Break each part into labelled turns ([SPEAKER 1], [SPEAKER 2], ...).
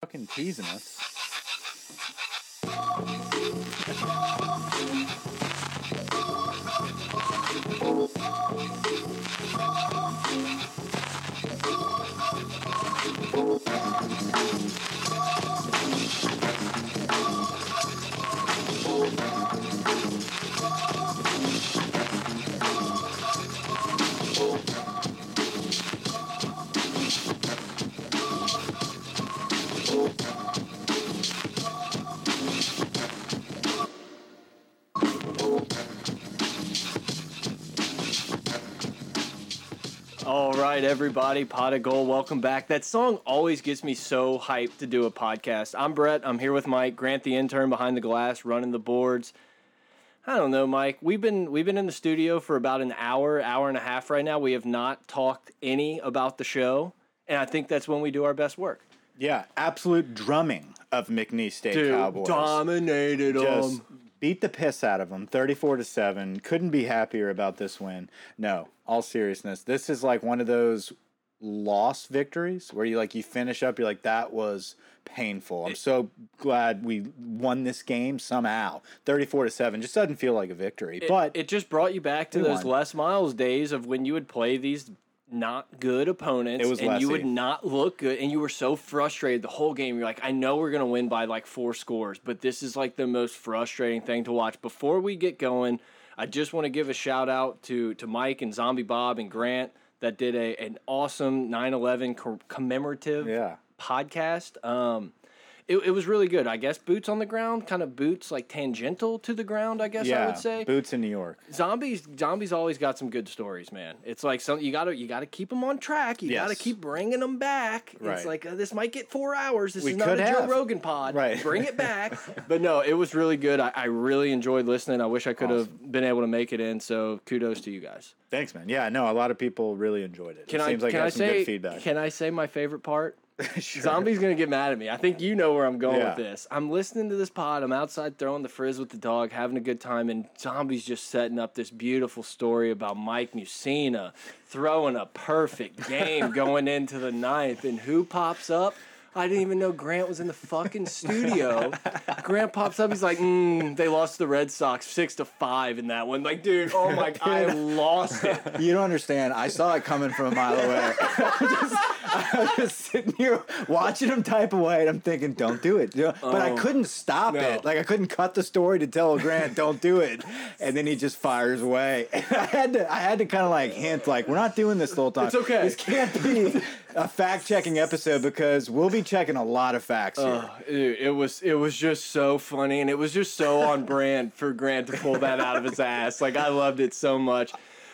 [SPEAKER 1] fucking teasing us.
[SPEAKER 2] All right, everybody, pot of gold. Welcome back. That song always gets me so hyped to do a podcast. I'm Brett. I'm here with Mike Grant, the intern behind the glass, running the boards. I don't know, Mike. We've been we've been in the studio for about an hour, hour and a half right now. We have not talked any about the show, and I think that's when we do our best work.
[SPEAKER 1] Yeah, absolute drumming of McNeese State
[SPEAKER 2] Dude,
[SPEAKER 1] Cowboys.
[SPEAKER 2] dominated
[SPEAKER 1] Just
[SPEAKER 2] 'em.
[SPEAKER 1] beat the piss out of them, thirty-four to seven. Couldn't be happier about this win. No, all seriousness, this is like one of those loss victories where you like you finish up, you're like that was painful. I'm so glad we won this game somehow. Thirty-four to seven just doesn't feel like a victory, but
[SPEAKER 2] it just brought you back to
[SPEAKER 1] We
[SPEAKER 2] those
[SPEAKER 1] won.
[SPEAKER 2] Les Miles days of when you would play these not good opponents
[SPEAKER 1] It was
[SPEAKER 2] and you would
[SPEAKER 1] Lessie.
[SPEAKER 2] not look good and you were so frustrated the whole game you're like I know we're going to win by like four scores but this is like the most frustrating thing to watch before we get going I just want to give a shout out to to Mike and Zombie Bob and Grant that did a an awesome 9/11 co- commemorative
[SPEAKER 1] Yeah.
[SPEAKER 2] podcast um it, it was really good. I guess boots on the ground, kind of boots like tangential to the ground. I guess
[SPEAKER 1] yeah,
[SPEAKER 2] I would say
[SPEAKER 1] boots in New York.
[SPEAKER 2] zombies zombies always got some good stories man it's like some you gotta you gotta keep them on track you
[SPEAKER 1] Yes.
[SPEAKER 2] gotta keep bringing them back
[SPEAKER 1] Right.
[SPEAKER 2] it's like uh, this might get four hours this
[SPEAKER 1] We
[SPEAKER 2] is not a
[SPEAKER 1] could
[SPEAKER 2] joe
[SPEAKER 1] have.
[SPEAKER 2] rogan pod
[SPEAKER 1] Right.
[SPEAKER 2] bring it back but no it was really good I, I really enjoyed listening i wish i could have been able to make it in so kudos to you guys
[SPEAKER 1] Thanks, man. Yeah, no, a lot of people really enjoyed it.
[SPEAKER 2] can
[SPEAKER 1] it seems
[SPEAKER 2] i
[SPEAKER 1] like
[SPEAKER 2] can
[SPEAKER 1] got
[SPEAKER 2] i
[SPEAKER 1] some
[SPEAKER 2] say
[SPEAKER 1] good feedback.
[SPEAKER 2] can i say my favorite part
[SPEAKER 1] Sure.
[SPEAKER 2] Zombie's gonna get mad at me. I think you know where I'm going
[SPEAKER 1] Yeah.
[SPEAKER 2] with this. I'm listening to this pod. I'm outside throwing the frizz with the dog, having a good time, and Zombie's just setting up this beautiful story about Mike Musina throwing a perfect game going into the ninth, and who pops up? I didn't even know Grant was in the fucking studio. Grant pops up. He's like, mm, "They lost to the Red Sox six to five in that one." Like, dude, oh my, I lost it.
[SPEAKER 1] You don't understand. I saw it coming from a mile away. I was just, I was sitting here watching him type away, and I'm thinking, "Don't do it." You know, But I
[SPEAKER 2] Oh,
[SPEAKER 1] couldn't stop
[SPEAKER 2] no.
[SPEAKER 1] it. Like I couldn't cut the story to tell Grant, "Don't do it," and then he just fires away. And I had to, I had to kind of like hint, like, "We're not doing this the whole time.
[SPEAKER 2] It's okay."
[SPEAKER 1] This can't be a fact checking episode because we'll be checking a lot of facts here."
[SPEAKER 2] Oh, dude, it was it was just so funny, and it was just so on brand for Grant to pull that out of his ass. Like I loved it so much.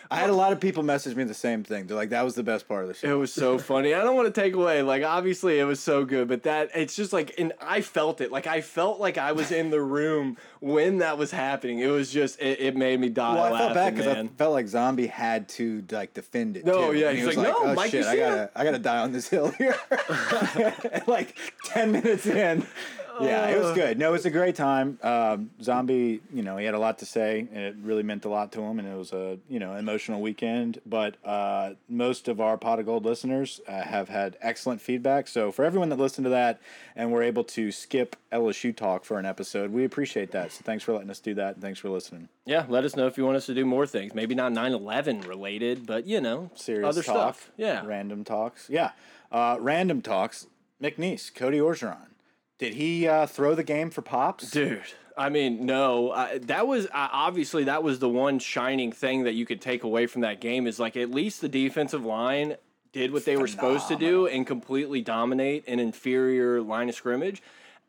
[SPEAKER 1] I had a lot of people message me the same thing. They're like, "That was the best part of the show."
[SPEAKER 2] It was so funny. I don't want to take away. Like obviously, it was so good, but that it's just like, and I felt it. Like I felt like I was in the room when that was happening. It was just it, it made me die
[SPEAKER 1] Well, I felt
[SPEAKER 2] laughing,
[SPEAKER 1] bad because I
[SPEAKER 2] man.
[SPEAKER 1] felt like Zombie had to like defend it.
[SPEAKER 2] No,
[SPEAKER 1] too.
[SPEAKER 2] yeah,
[SPEAKER 1] And
[SPEAKER 2] he's like, "No, Mike, you
[SPEAKER 1] "Oh, I
[SPEAKER 2] see
[SPEAKER 1] gotta, I gotta die on this hill here. like ten minutes in, yeah, it was good. No, it was a great time. Um, Zombie, you know, he had a lot to say, and it really meant a lot to him. And it was a, you know, emotional weekend. But uh, most of our Pot of Gold listeners uh, have had excellent feedback. So for everyone that listened to that, and were able to skip LSU talk for an episode, we appreciate that. So thanks for letting us do that, and thanks for listening.
[SPEAKER 2] Yeah, let us know if you want us to do more things. Maybe not 9-11 related, but you know,
[SPEAKER 1] serious
[SPEAKER 2] other
[SPEAKER 1] talk,
[SPEAKER 2] stuff. Yeah,
[SPEAKER 1] random talks, yeah, uh, random talks. McNeese, Cody Orgeron, did he uh, throw the game for pops?
[SPEAKER 2] Dude, I mean, no. I, that was I obviously that was the one shining thing that you could take away from that game is like at least the defensive line did what they were supposed to do and completely dominate an inferior line of scrimmage.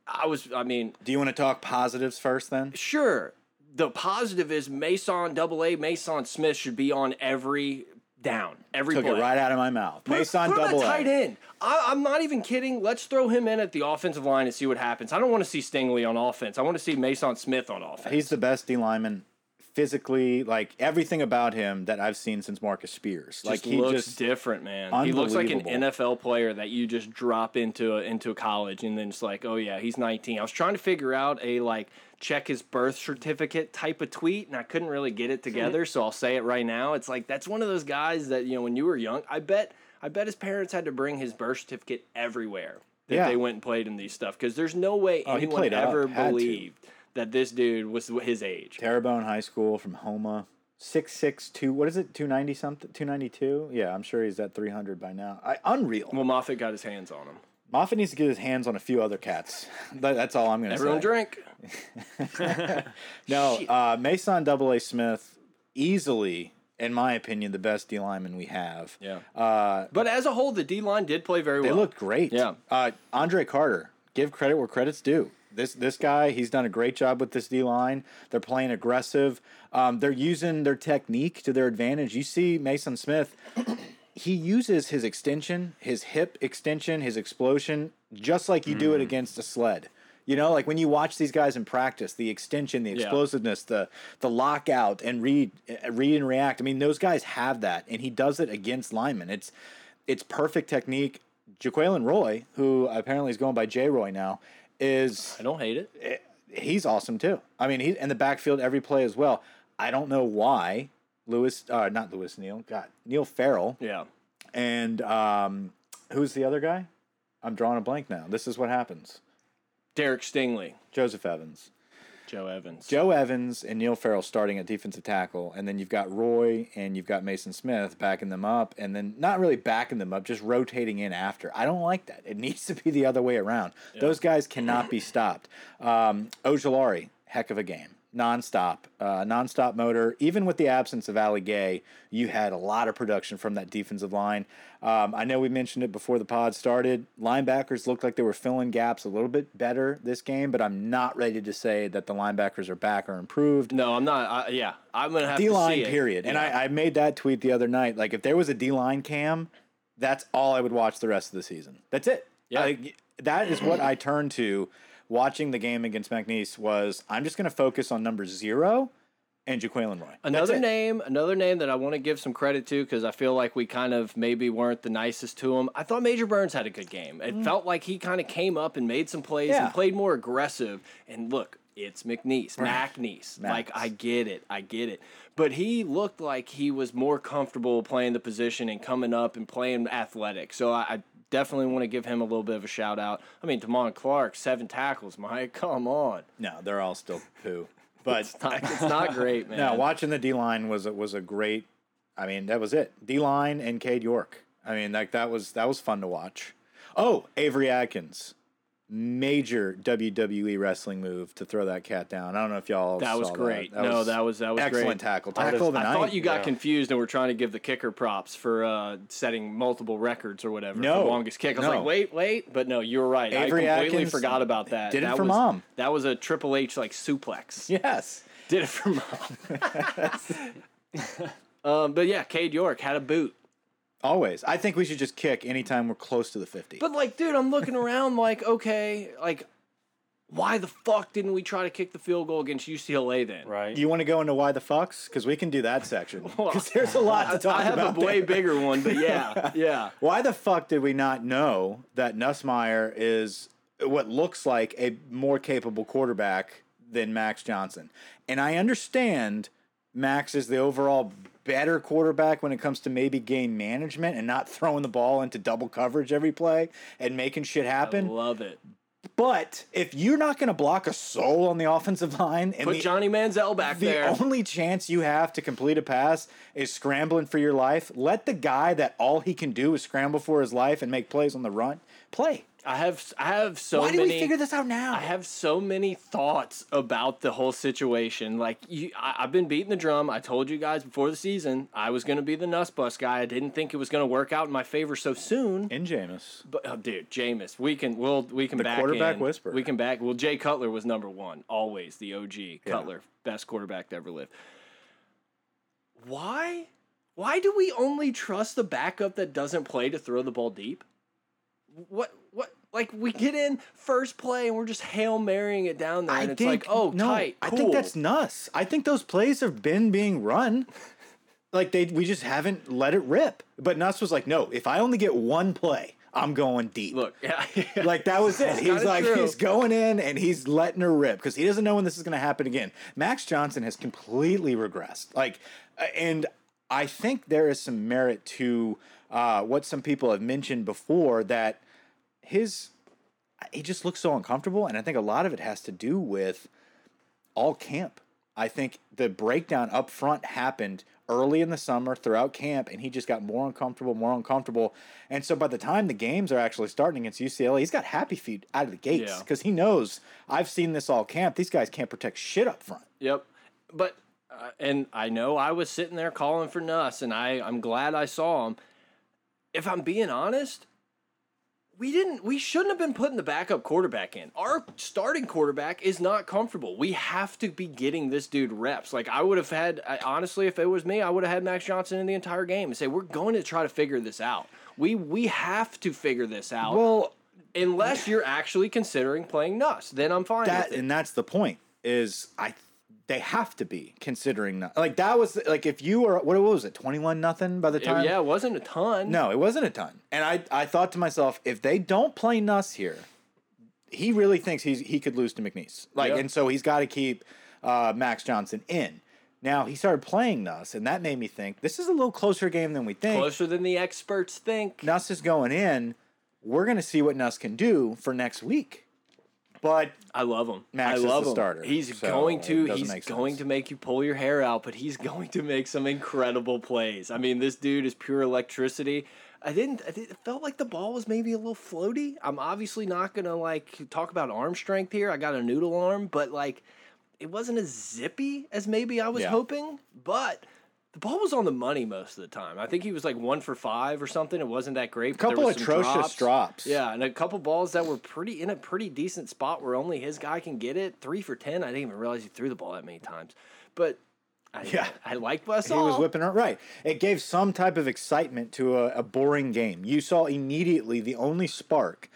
[SPEAKER 2] I was, I mean,
[SPEAKER 1] Do you want to talk positives first, then?
[SPEAKER 2] sure. The positive is Mason Double A Mason Smith should be on every down, every
[SPEAKER 1] Took
[SPEAKER 2] play.
[SPEAKER 1] it right out of my mouth.
[SPEAKER 2] Put-
[SPEAKER 1] Mason
[SPEAKER 2] put him at
[SPEAKER 1] double
[SPEAKER 2] tight
[SPEAKER 1] A.
[SPEAKER 2] end. I, I'm not even kidding. Let's throw him in at the offensive line and see what happens. I don't want to see Stingley on offense. I want to see Mason Smith on offense.
[SPEAKER 1] He's the best D lineman. Physically, like everything about him that I've seen since Marcus Spears, like
[SPEAKER 2] Just
[SPEAKER 1] he
[SPEAKER 2] looks
[SPEAKER 1] just
[SPEAKER 2] different, man. He looks like an
[SPEAKER 1] Unbelievable.
[SPEAKER 2] NFL player that you just drop into a, into a college, and then it's like, oh yeah, he's 19. I was trying to figure out a like check his birth certificate type of tweet, and I couldn't really get it together. so I'll say it right now. It's like that's one of those guys that you know when you were young. I bet I bet his parents had to bring his birth certificate everywhere. that
[SPEAKER 1] Yeah. Oh,
[SPEAKER 2] they went and played in these stuff because there's no way
[SPEAKER 1] he
[SPEAKER 2] anyone
[SPEAKER 1] played up,
[SPEAKER 2] ever
[SPEAKER 1] had to.
[SPEAKER 2] believed that this dude was his age.
[SPEAKER 1] Terrebonne High School from Homa. Six six two. What is it? Two ninety something. Two ninety two. Yeah, I'm sure he's at three hundred by now. I, unreal.
[SPEAKER 2] Well, Moffat got his hands on him.
[SPEAKER 1] Moffat needs to get his hands on a few other cats. That- that's all I'm gonna
[SPEAKER 2] Everyone
[SPEAKER 1] say.
[SPEAKER 2] drink.
[SPEAKER 1] No, uh, Mason Double A Smith, easily, in my opinion, the best D lineman we have.
[SPEAKER 2] Yeah.
[SPEAKER 1] Uh,
[SPEAKER 2] But as a whole, the D line did play very
[SPEAKER 1] They
[SPEAKER 2] well.
[SPEAKER 1] look great.
[SPEAKER 2] Yeah.
[SPEAKER 1] Uh, Andre Carter, give credit where credit's due. This this guy, he's done a great job with this D line. They're playing aggressive. Um, they're using their technique to their advantage. You see Mason Smith, he uses his extension, his hip extension, his explosion, just like you do it against a sled. You know, like when you watch these guys in practice, the extension, the explosiveness, the the lockout and read uh, read and react. I mean, those guys have that, and he does it against linemen. It's it's perfect technique. Jaqueline Roy, who apparently is going by J Roy now, is
[SPEAKER 2] I don't hate it.
[SPEAKER 1] he's awesome too. I mean, he's in the backfield every play as well. I don't know why Lewis, uh, not Lewis Neal, God, Neil Farrell,
[SPEAKER 2] Yeah.
[SPEAKER 1] and um, who's the other guy? I'm drawing a blank now. This is what happens.
[SPEAKER 2] Derek Stingley,
[SPEAKER 1] Joseph Evans.
[SPEAKER 2] Joe Evans.
[SPEAKER 1] Joe Evans and Neil Farrell starting at defensive tackle, and then you've got Roy and you've got Mason Smith backing them up, and then not really backing them up, just rotating in after. I don't like that. It needs to be the other way around. Those guys cannot be stopped. Um, Ojolari, heck of a game. Nonstop, uh, nonstop motor. Even with the absence of Ali Gay, you had a lot of production from that defensive line. Um, I know we mentioned it before the pod started. Linebackers looked like they were filling gaps a little bit better this game, but I'm not ready to say that the linebackers are back or improved.
[SPEAKER 2] No, I'm not. I, yeah, I'm gonna have
[SPEAKER 1] D
[SPEAKER 2] to
[SPEAKER 1] line,
[SPEAKER 2] see it.
[SPEAKER 1] period. And I, I made that tweet the other night. Like, if there was a D line cam, that's all I would watch the rest of the season. That's it.
[SPEAKER 2] Yeah.
[SPEAKER 1] I- that is what I turned to watching the game against McNeese was I'm just going to focus on number zero and Jaqueline Roy. That's
[SPEAKER 2] Another
[SPEAKER 1] it.
[SPEAKER 2] name, another name that I want to give some credit to because I feel like we kind of maybe weren't the nicest to him. I thought Major Burns had a good game. It felt like he kind of came up and made some plays
[SPEAKER 1] Mm. Yeah.
[SPEAKER 2] and played more aggressive. And look, it's McNeese, McNeese. Like I get it, I get it. But he looked like he was more comfortable playing the position and coming up and playing athletic. So I. I Definitely want to give him a little bit of a shout out. I mean, Damon Clark, seven tackles, Mike. Come on,
[SPEAKER 1] No, they're all still poo. But
[SPEAKER 2] it's not, it's not great, man.
[SPEAKER 1] no, watching the D line was a- was a great. I mean, that was it. D line and Cade York. I mean, like that was that was fun to watch. Oh, Avery Atkins, major WWE wrestling move to throw that cat down. I don't know if y'all
[SPEAKER 2] That was
[SPEAKER 1] saw
[SPEAKER 2] great. no, that was that was
[SPEAKER 1] excellent
[SPEAKER 2] great.
[SPEAKER 1] tackle.
[SPEAKER 2] I,
[SPEAKER 1] Tackle of the
[SPEAKER 2] I
[SPEAKER 1] night.
[SPEAKER 2] thought you got confused and were trying to give the kicker props for uh, setting multiple records or whatever
[SPEAKER 1] No,
[SPEAKER 2] for longest kick. I was
[SPEAKER 1] no.
[SPEAKER 2] like, wait, wait, but no, you were right.
[SPEAKER 1] Avery
[SPEAKER 2] I completely
[SPEAKER 1] Atkins
[SPEAKER 2] forgot about that.
[SPEAKER 1] did it
[SPEAKER 2] that
[SPEAKER 1] for
[SPEAKER 2] was,
[SPEAKER 1] mom.
[SPEAKER 2] That was a Triple H like suplex.
[SPEAKER 1] yes.
[SPEAKER 2] Did it for mom. um, but yeah, Cade York had a boot.
[SPEAKER 1] Always. I think we should just kick anytime we're close to the fifty.
[SPEAKER 2] But like, dude, I'm looking around like, okay, like, why the fuck didn't we try to kick the field goal against UCLA then?
[SPEAKER 3] Right.
[SPEAKER 1] you want to go into why the fucks? Because we can do that section. Because there's a lot to talk
[SPEAKER 2] I have
[SPEAKER 1] about.
[SPEAKER 2] a way
[SPEAKER 1] there.
[SPEAKER 2] bigger one, but yeah, yeah.
[SPEAKER 1] Why the fuck did we not know that Nussmeyer is what looks like a more capable quarterback than Max Johnson? And I understand Max is the overall better quarterback when it comes to maybe game management and not throwing the ball into double coverage every play and making shit happen.
[SPEAKER 2] Love it.
[SPEAKER 1] But if you're not going to block a soul on the offensive line and
[SPEAKER 2] Put
[SPEAKER 1] the
[SPEAKER 2] Johnny Manziel back
[SPEAKER 1] the
[SPEAKER 2] there.
[SPEAKER 1] only chance you have to complete a pass is scrambling for your life. Let the guy that all he can do is scramble for his life and make plays on the run play.
[SPEAKER 2] I have I have so
[SPEAKER 1] Why do
[SPEAKER 2] many
[SPEAKER 1] we figure this out now?
[SPEAKER 2] I have so many thoughts about the whole situation. Like you, I, I've been beating the drum. I told you guys before the season I was going to be the nuss bus guy. I didn't think it was going to work out in my favor so soon.
[SPEAKER 1] in Jameis.
[SPEAKER 2] But oh, dude, Jameis, we can we'll we can back
[SPEAKER 1] quarterback
[SPEAKER 2] in.
[SPEAKER 1] whisperer.
[SPEAKER 2] We can back. Well, Jay Cutler was number one always. The OG Cutler, best quarterback to ever live. Why? Why do we only trust the backup that doesn't play to throw the ball deep? What? What? Like we get in first play and we're just hail marrying it down there, and it's like, oh, tight,
[SPEAKER 1] I
[SPEAKER 2] cool.
[SPEAKER 1] think that's nuts. I think those plays have been being run. Like they, we just haven't let it rip. But Nuss was like, no. If I only get one play, I'm going deep.
[SPEAKER 2] look. Yeah,
[SPEAKER 1] Like that was it. He's
[SPEAKER 2] kinda
[SPEAKER 1] like
[SPEAKER 2] true.
[SPEAKER 1] he's going in and he's letting her rip because he doesn't know when this is going to happen again. Max Johnson has completely regressed. Like, uh, and I think there is some merit to uh, what some people have mentioned before that his he just looks so uncomfortable, and I think a lot of it has to do with all camp. I think the breakdown up front happened early in the summer throughout camp, and he just got more uncomfortable, more uncomfortable. And so by the time the games are actually starting against UCLA, he's got happy feet out of the gates
[SPEAKER 2] Yeah.
[SPEAKER 1] because he knows I've seen this all camp. These guys can't protect shit up front.
[SPEAKER 2] Yep. But uh, and I know I was sitting there calling for Nuss, and I I'm glad I saw him. If I'm being honest, we didn't we shouldn't have been putting the backup quarterback in. Our starting quarterback is not comfortable. We have to be getting this dude reps. Like I would have had I, honestly, if it was me, I would have had Max Johnson in the entire game and say we're going to try to figure this out. We we have to figure this out.
[SPEAKER 1] Well,
[SPEAKER 2] unless you're actually considering playing Nuss, then I'm fine.
[SPEAKER 1] that
[SPEAKER 2] with it.
[SPEAKER 1] and that's the point is I they have to be considering that. Like that was like if you were what was it twenty one nothing by the time
[SPEAKER 2] yeah, it wasn't a ton.
[SPEAKER 1] No, it wasn't a ton. And I, I thought to myself, if they don't play Nuss here, he really thinks he's he could lose to McNeese. Like,
[SPEAKER 2] Yep.
[SPEAKER 1] and so he's got to keep uh, Max Johnson in. Now he started playing Nuss, and that made me think this is a little closer game than we think.
[SPEAKER 2] closer than the experts think.
[SPEAKER 1] Nuss is going in. We're gonna see what Nuss can do for next week. But
[SPEAKER 2] I love him.
[SPEAKER 1] Max
[SPEAKER 2] I
[SPEAKER 1] is
[SPEAKER 2] love
[SPEAKER 1] the
[SPEAKER 2] him.
[SPEAKER 1] starter,
[SPEAKER 2] He's
[SPEAKER 1] so
[SPEAKER 2] going to.
[SPEAKER 1] it doesn't
[SPEAKER 2] He's
[SPEAKER 1] make sense.
[SPEAKER 2] going to make you pull your hair out, but he's going to make some incredible plays. I mean, this dude is pure electricity. I didn't. I did it felt like the ball was maybe a little floaty. I'm obviously not gonna like talk about arm strength here. I got a noodle arm, but like, it wasn't as zippy as maybe I was
[SPEAKER 1] Yeah.
[SPEAKER 2] hoping. But the ball was on the money most of the time. I think he was like one for five or something. It wasn't that great. A
[SPEAKER 1] couple atrocious drops.
[SPEAKER 2] Yeah, and a couple balls that were pretty in a pretty decent spot where only his guy can get it. Three for ten. I didn't even realize he threw the ball that many times. But I,
[SPEAKER 1] Yeah.
[SPEAKER 2] I liked what I
[SPEAKER 1] he
[SPEAKER 2] saw.
[SPEAKER 1] was whipping it right. It gave some type of excitement to a, a boring game. You saw immediately the only spark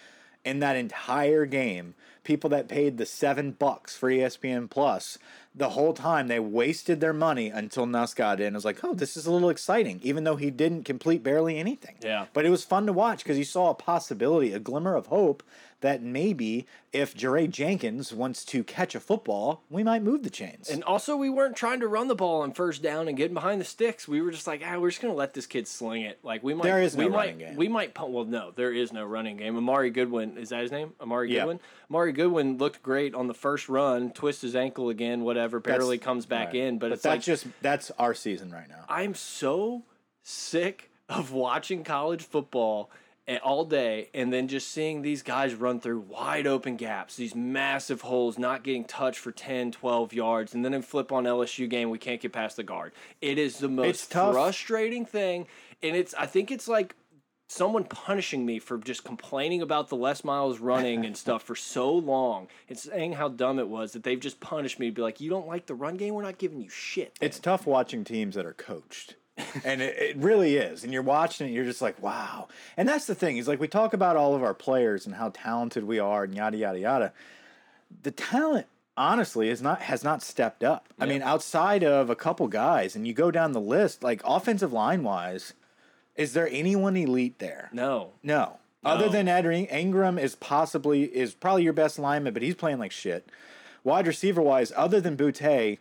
[SPEAKER 1] in that entire game. People that paid the seven bucks for E ESPN Plus the whole time they wasted their money until Nuss got in. It was like, oh, this is a little exciting, even though he didn't complete barely anything.
[SPEAKER 2] Yeah.
[SPEAKER 1] But it was fun to watch because you saw a possibility, a glimmer of hope that maybe if Jeray Jenkins wants to catch a football, we might move the chains.
[SPEAKER 2] And also, we weren't trying to run the ball on first down and getting behind the sticks. We were just like, ah, we're just gonna let this kid sling it. Like we might,
[SPEAKER 1] There is no
[SPEAKER 2] we
[SPEAKER 1] running
[SPEAKER 2] might,
[SPEAKER 1] game.
[SPEAKER 2] We might punt. Well, no, there is no running game. Amari Goodwin is that his name? Amari
[SPEAKER 1] Yeah.
[SPEAKER 2] Goodwin. Amari Goodwin looked great on the first run. Twists his ankle again. Whatever. Barely comes back
[SPEAKER 1] Right.
[SPEAKER 2] in. But,
[SPEAKER 1] but
[SPEAKER 2] it's
[SPEAKER 1] that's
[SPEAKER 2] like
[SPEAKER 1] just that's our season right now.
[SPEAKER 2] I'm so sick of watching college football a- all day and then just seeing these guys run through wide open gaps, these massive holes, not getting touched for 10, 12 yards. And then in flip on LSU game, we can't get past the guard. It is the most
[SPEAKER 1] It's tough.
[SPEAKER 2] frustrating thing. And it's, I think it's like, Someone punishing me for just complaining about the less miles running and stuff for so long and saying how dumb it was that they've just punished me to be like, you don't like the run game? We're not giving you shit.
[SPEAKER 1] It's tough watching teams that are coached. and it, it really is. And you're watching it, and you're just like, wow. And that's the thing is like we talk about all of our players and how talented we are and yada yada yada. The talent honestly is not has not stepped up. I mean, outside of a couple guys, and you go down the list, like offensive line wise, is there anyone elite there?
[SPEAKER 2] No,
[SPEAKER 1] No. Other than Ed Ing- Ingram is possibly is probably your best lineman, but he's playing like shit. Wide receiver wise, other than Boutte,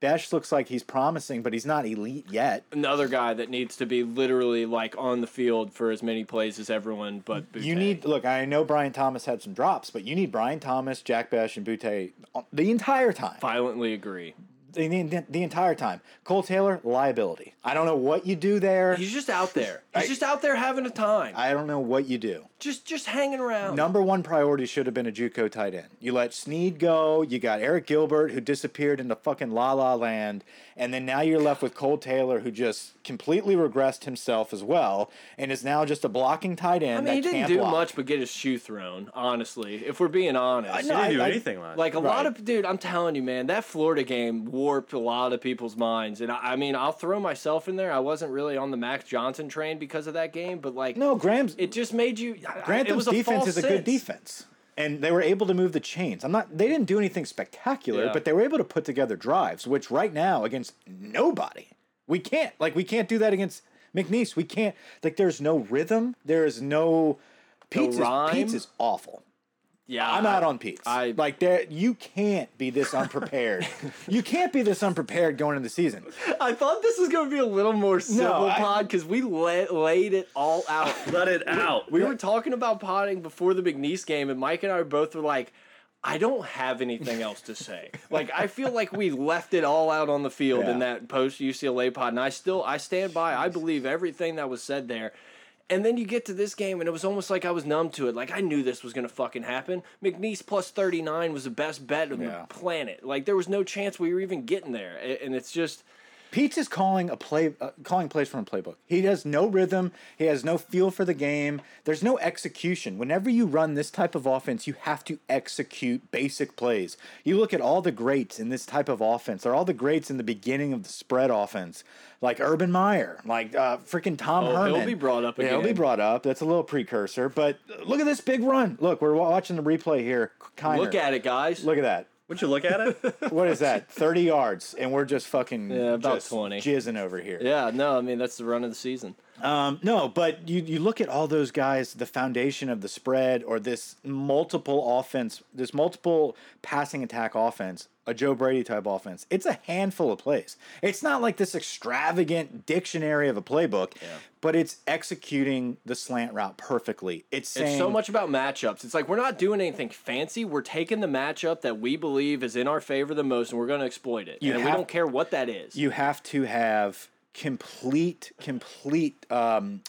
[SPEAKER 1] Besh looks like he's promising, but he's not elite yet.
[SPEAKER 2] another guy that needs to be literally like on the field for as many plays as everyone but Boutte.
[SPEAKER 1] You need look. I know Brian Thomas had some drops, but you need Brian Thomas, Jack Besh, and Boutte the entire time.
[SPEAKER 2] violently agree.
[SPEAKER 1] The, the, the entire time. Cole Taylor liability. I don't know what you do there.
[SPEAKER 2] He's just out there. He's just out there having a time.
[SPEAKER 1] I don't know what you do.
[SPEAKER 2] just just hanging around.
[SPEAKER 1] Number one priority should have been a JUCO tight end. You let Snead go. You got Eric Gilbert, who disappeared into fucking La La Land, and then now you're left with Cole Taylor, who just completely regressed himself as well, and is now just a blocking tight end.
[SPEAKER 2] I mean, he
[SPEAKER 1] that
[SPEAKER 2] didn't
[SPEAKER 1] can't
[SPEAKER 2] do
[SPEAKER 1] block.
[SPEAKER 2] much but get his shoe thrown. Honestly, if we're being honest,
[SPEAKER 1] know.
[SPEAKER 3] didn't
[SPEAKER 1] I-
[SPEAKER 3] do
[SPEAKER 1] I-
[SPEAKER 3] anything last.
[SPEAKER 2] Like a lot
[SPEAKER 1] Right.
[SPEAKER 2] of dude, I'm telling you, man, that Florida game warped a lot of people's minds. And I, I mean, I'll throw myself in there. I wasn't really on the Max Johnson train because of that game, but like,
[SPEAKER 1] No, Graham's
[SPEAKER 2] it just made you. it was
[SPEAKER 1] Grantham's
[SPEAKER 2] a
[SPEAKER 1] defense
[SPEAKER 2] false
[SPEAKER 1] is a good
[SPEAKER 2] sense.
[SPEAKER 1] defense. And they were able to move the chains. I'm not. They didn't do anything spectacular,
[SPEAKER 2] Yeah.
[SPEAKER 1] but they were able to put together drives, which right now against nobody, we can't. Like we can't do that against McNeese. We can't. Like there's no rhythm. There is no. Pizza's,
[SPEAKER 2] rhyme.
[SPEAKER 1] pizza's awful.
[SPEAKER 2] Yeah,
[SPEAKER 1] I'm out on Pete's.
[SPEAKER 2] I-
[SPEAKER 1] like there, you can't be this unprepared. you can't be this unprepared going into the season.
[SPEAKER 2] I thought this was going to be a little more simple
[SPEAKER 1] I-
[SPEAKER 2] pod because we la- laid it all out.
[SPEAKER 3] Let it out.
[SPEAKER 2] we were talking about potting before the McNeese game, and Mike and I both were like, I don't have anything else to say. like I feel like we left it all out on the field in
[SPEAKER 1] Yeah.
[SPEAKER 2] that post UCLA pod, and I still I stand by. I believe everything that was said there. And then you get to this game, and it was almost like I was numb to it. Like I knew this was gonna fucking happen. McNeese plus thirty nine was the best bet on
[SPEAKER 1] Yeah.
[SPEAKER 2] the planet. Like there was no chance we were even getting there, A- and it's just.
[SPEAKER 1] Pete's is calling a play, uh, calling plays from a playbook. He has no rhythm. He has no feel for the game. There's no execution. Whenever you run this type of offense, you have to execute basic plays. You look at all the greats in this type of offense. They're all the greats in the beginning of the spread offense, like Urban Meyer, like uh, freaking Tom
[SPEAKER 2] he'll
[SPEAKER 1] Herman.
[SPEAKER 2] Oh, be brought up
[SPEAKER 1] Yeah, he'll be
[SPEAKER 2] again.
[SPEAKER 1] brought up. That's a little precursor. But look at this big run. Look, we're wa- watching the replay here. Kiner,
[SPEAKER 2] Look at it, guys.
[SPEAKER 1] Look at that.
[SPEAKER 3] Would you look at it?
[SPEAKER 1] What is that? Thirty yards, and we're just fucking
[SPEAKER 2] Yeah, about
[SPEAKER 1] just
[SPEAKER 2] 20.
[SPEAKER 1] jizzing over here.
[SPEAKER 2] Yeah, no, I mean that's the run of the season.
[SPEAKER 1] Um, no, but you, you look at all those guys, the foundation of the spread or this multiple offense, this multiple passing attack offense, a Joe Brady type offense. It's a handful of plays. It's not like this extravagant dictionary of a playbook, but it's executing the slant route perfectly. It's saying
[SPEAKER 2] It's so much about matchups. It's like we're not doing anything fancy. We're taking the matchup that we believe is in our favor the most, and we're going to exploit it.
[SPEAKER 1] You
[SPEAKER 2] and we
[SPEAKER 1] have-
[SPEAKER 2] don't care what that is.
[SPEAKER 1] you have to have complete, complete, um,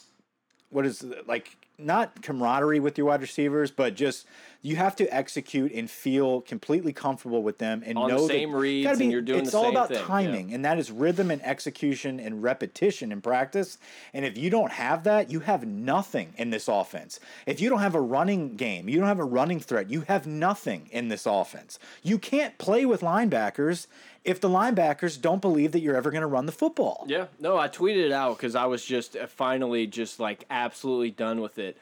[SPEAKER 1] what is it, like not camaraderie with your wide receivers, but just you have to execute and feel completely comfortable with them and
[SPEAKER 2] On the
[SPEAKER 1] know that-
[SPEAKER 2] same reads
[SPEAKER 1] gotta
[SPEAKER 2] and you're doing
[SPEAKER 1] it's
[SPEAKER 2] the
[SPEAKER 1] all
[SPEAKER 2] same
[SPEAKER 1] about
[SPEAKER 2] thing, yeah.
[SPEAKER 1] timing, and that is rhythm and execution and repetition in practice. And if you don't have that, you have nothing in this offense. If you don't have a running game, you don't have a running threat, you have nothing in this offense. You can't play with linebackers if the linebackers don't believe that you're ever going to run the football.
[SPEAKER 2] yeah, no, I tweeted it out because I was just uh, finally just like absolutely done with it.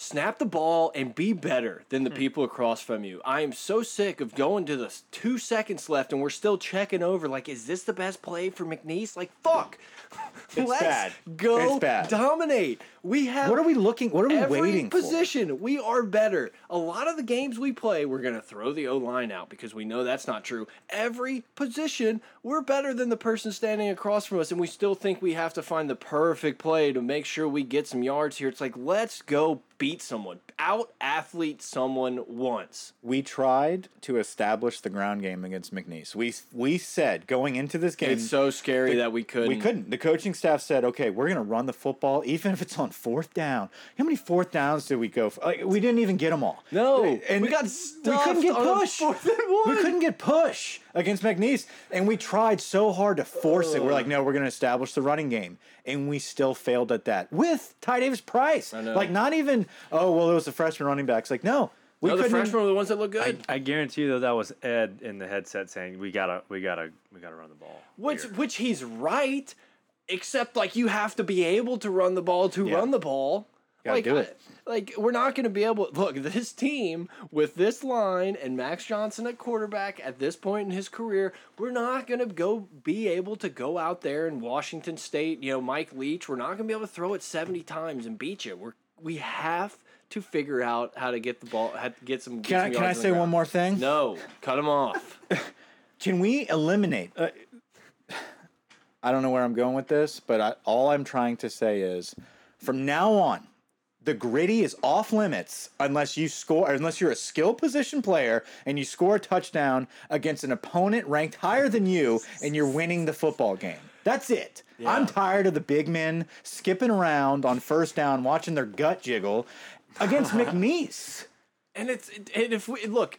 [SPEAKER 2] Snap the ball and be better than
[SPEAKER 1] Hmm.
[SPEAKER 2] the people across from you. I am so sick of going to the s- two seconds left and we're still checking over. Like, is this the best play for McNeese? Like, fuck. Let's
[SPEAKER 1] bad.
[SPEAKER 2] go
[SPEAKER 1] It's bad.
[SPEAKER 2] dominate. We have
[SPEAKER 1] What are we looking? What are we
[SPEAKER 2] every
[SPEAKER 1] waiting for?
[SPEAKER 2] position we are better a lot of the games we play we're going to throw the o line out because we know that's not true every position we're better than the person standing across from us and we still think we have to find the perfect play to make sure we get some yards here it's like let's go beat someone out athlete someone once
[SPEAKER 1] we tried to establish the ground game against McNeese. We we said going into this game,
[SPEAKER 2] it's so scary that we couldn't
[SPEAKER 1] we couldn't. The coaching staff said, "Okay, we're going to run the football, even if it's on fourth down." How many fourth downs did we go for? Like, we didn't even get them all.
[SPEAKER 2] no
[SPEAKER 1] and
[SPEAKER 2] we got
[SPEAKER 1] we couldn't
[SPEAKER 2] stuffed
[SPEAKER 1] get
[SPEAKER 2] on a
[SPEAKER 1] push.
[SPEAKER 2] fourth and one.
[SPEAKER 1] We couldn't get push against McNeese, and we tried so hard to force it. We're like, no, we're going to establish the running game, and we still failed at that with Ty Davis Price.
[SPEAKER 2] know.
[SPEAKER 1] Like, not even. Oh well, it was the freshman running backs. Like, no, we
[SPEAKER 2] no, the
[SPEAKER 1] couldn't.
[SPEAKER 2] freshmen were the ones that look good
[SPEAKER 3] I guarantee you though that was Ed in the headset saying we gotta we gotta we gotta run the ball.
[SPEAKER 2] Which which he's right, except like you have to be able to run the ball to run the ball.
[SPEAKER 1] Gotta
[SPEAKER 2] like,
[SPEAKER 1] do it.
[SPEAKER 2] I- like we're not going to be able. Look, this team with this line and Max Johnson at quarterback at this point in his career, we're not going to go be able to go out there in Washington State. You know, Mike Leach, we're not going to be able to throw it seventy times and beat you. We're we have to figure out how to get the ball, how to get some. get
[SPEAKER 1] Can I,
[SPEAKER 2] some
[SPEAKER 1] can I
[SPEAKER 2] yards on the
[SPEAKER 1] say one
[SPEAKER 2] ground.
[SPEAKER 1] more thing?
[SPEAKER 2] No, cut him off.
[SPEAKER 1] Can we eliminate? Uh, I don't know where I'm going with this, but I, all I'm trying to say is, from now on, the gritty is off limits unless you score, or unless you're a skill position player and you score a touchdown against an opponent ranked higher than you, and you're winning the football game. That's it. I'm tired of the big men skipping around on first down, watching their gut jiggle against McNeese.
[SPEAKER 2] and it's and if we look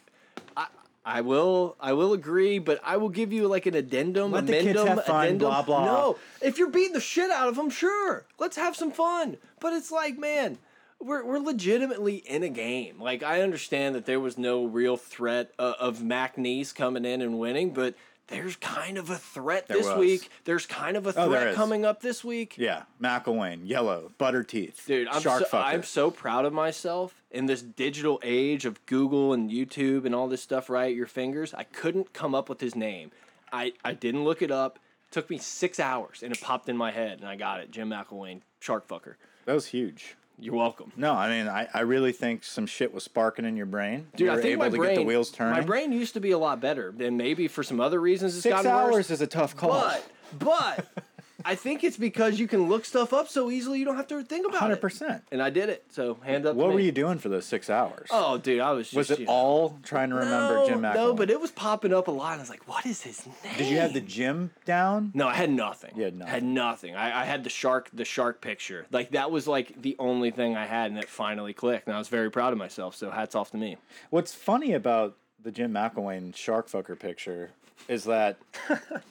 [SPEAKER 2] i i will i will agree but i will give you like an addendum
[SPEAKER 1] Let the kids
[SPEAKER 2] amendum
[SPEAKER 1] have fun,
[SPEAKER 2] addendum
[SPEAKER 1] blah, blah.
[SPEAKER 2] no if you're beating the shit out of them sure let's have some fun but it's like man we're, we're legitimately in a game. Like I understand that there was no real threat uh, of McNeese coming in and winning, but there's kind of a threat this
[SPEAKER 1] was. Oh,
[SPEAKER 2] week. There's kind of a
[SPEAKER 1] there
[SPEAKER 2] threat
[SPEAKER 1] is.
[SPEAKER 2] coming up this week
[SPEAKER 1] Yeah, McElwain, yellow, butter teeth,
[SPEAKER 2] dude I'm,
[SPEAKER 1] shark
[SPEAKER 2] so,
[SPEAKER 1] fucker.
[SPEAKER 2] I'm so proud of myself in this digital age of google and youtube and all this stuff right at your fingers i couldn't come up with his name i, I didn't look it up took me six hours and it popped in my head and i got it jim mcelwain shark fucker
[SPEAKER 1] that was huge.
[SPEAKER 2] You're welcome.
[SPEAKER 1] No, I mean, I, I really think some shit was sparking in your brain.
[SPEAKER 2] Dude,
[SPEAKER 1] you
[SPEAKER 2] I
[SPEAKER 1] were
[SPEAKER 2] think
[SPEAKER 1] able
[SPEAKER 2] my
[SPEAKER 1] to
[SPEAKER 2] brain,
[SPEAKER 1] get the wheels turning.
[SPEAKER 2] My brain used to be a lot better, and maybe for some other reasons it's
[SPEAKER 1] Six
[SPEAKER 2] gotten
[SPEAKER 1] hours
[SPEAKER 2] worse.
[SPEAKER 1] is a tough call.
[SPEAKER 2] But but I think it's because you can look stuff up so easily you don't have to think about
[SPEAKER 1] Hundred
[SPEAKER 2] it.
[SPEAKER 1] percent.
[SPEAKER 2] And I did it. So hand up. to
[SPEAKER 1] What were
[SPEAKER 2] me.
[SPEAKER 1] you doing for those six hours?
[SPEAKER 2] Oh, dude, I was just.
[SPEAKER 1] was it
[SPEAKER 2] you know,
[SPEAKER 1] all trying to remember
[SPEAKER 2] no,
[SPEAKER 1] Jim McElwain?
[SPEAKER 2] No, but it was popping up a lot. And I was like, what is his name?
[SPEAKER 1] did you have the gym down?
[SPEAKER 2] No, I had nothing.
[SPEAKER 1] You had nothing.
[SPEAKER 2] Had nothing. I, I had the shark, the shark picture. Like that was like the only thing I had, and it finally clicked. And I was very proud of myself. So hats off to me.
[SPEAKER 1] What's funny about the Jim McElwain shark fucker picture is that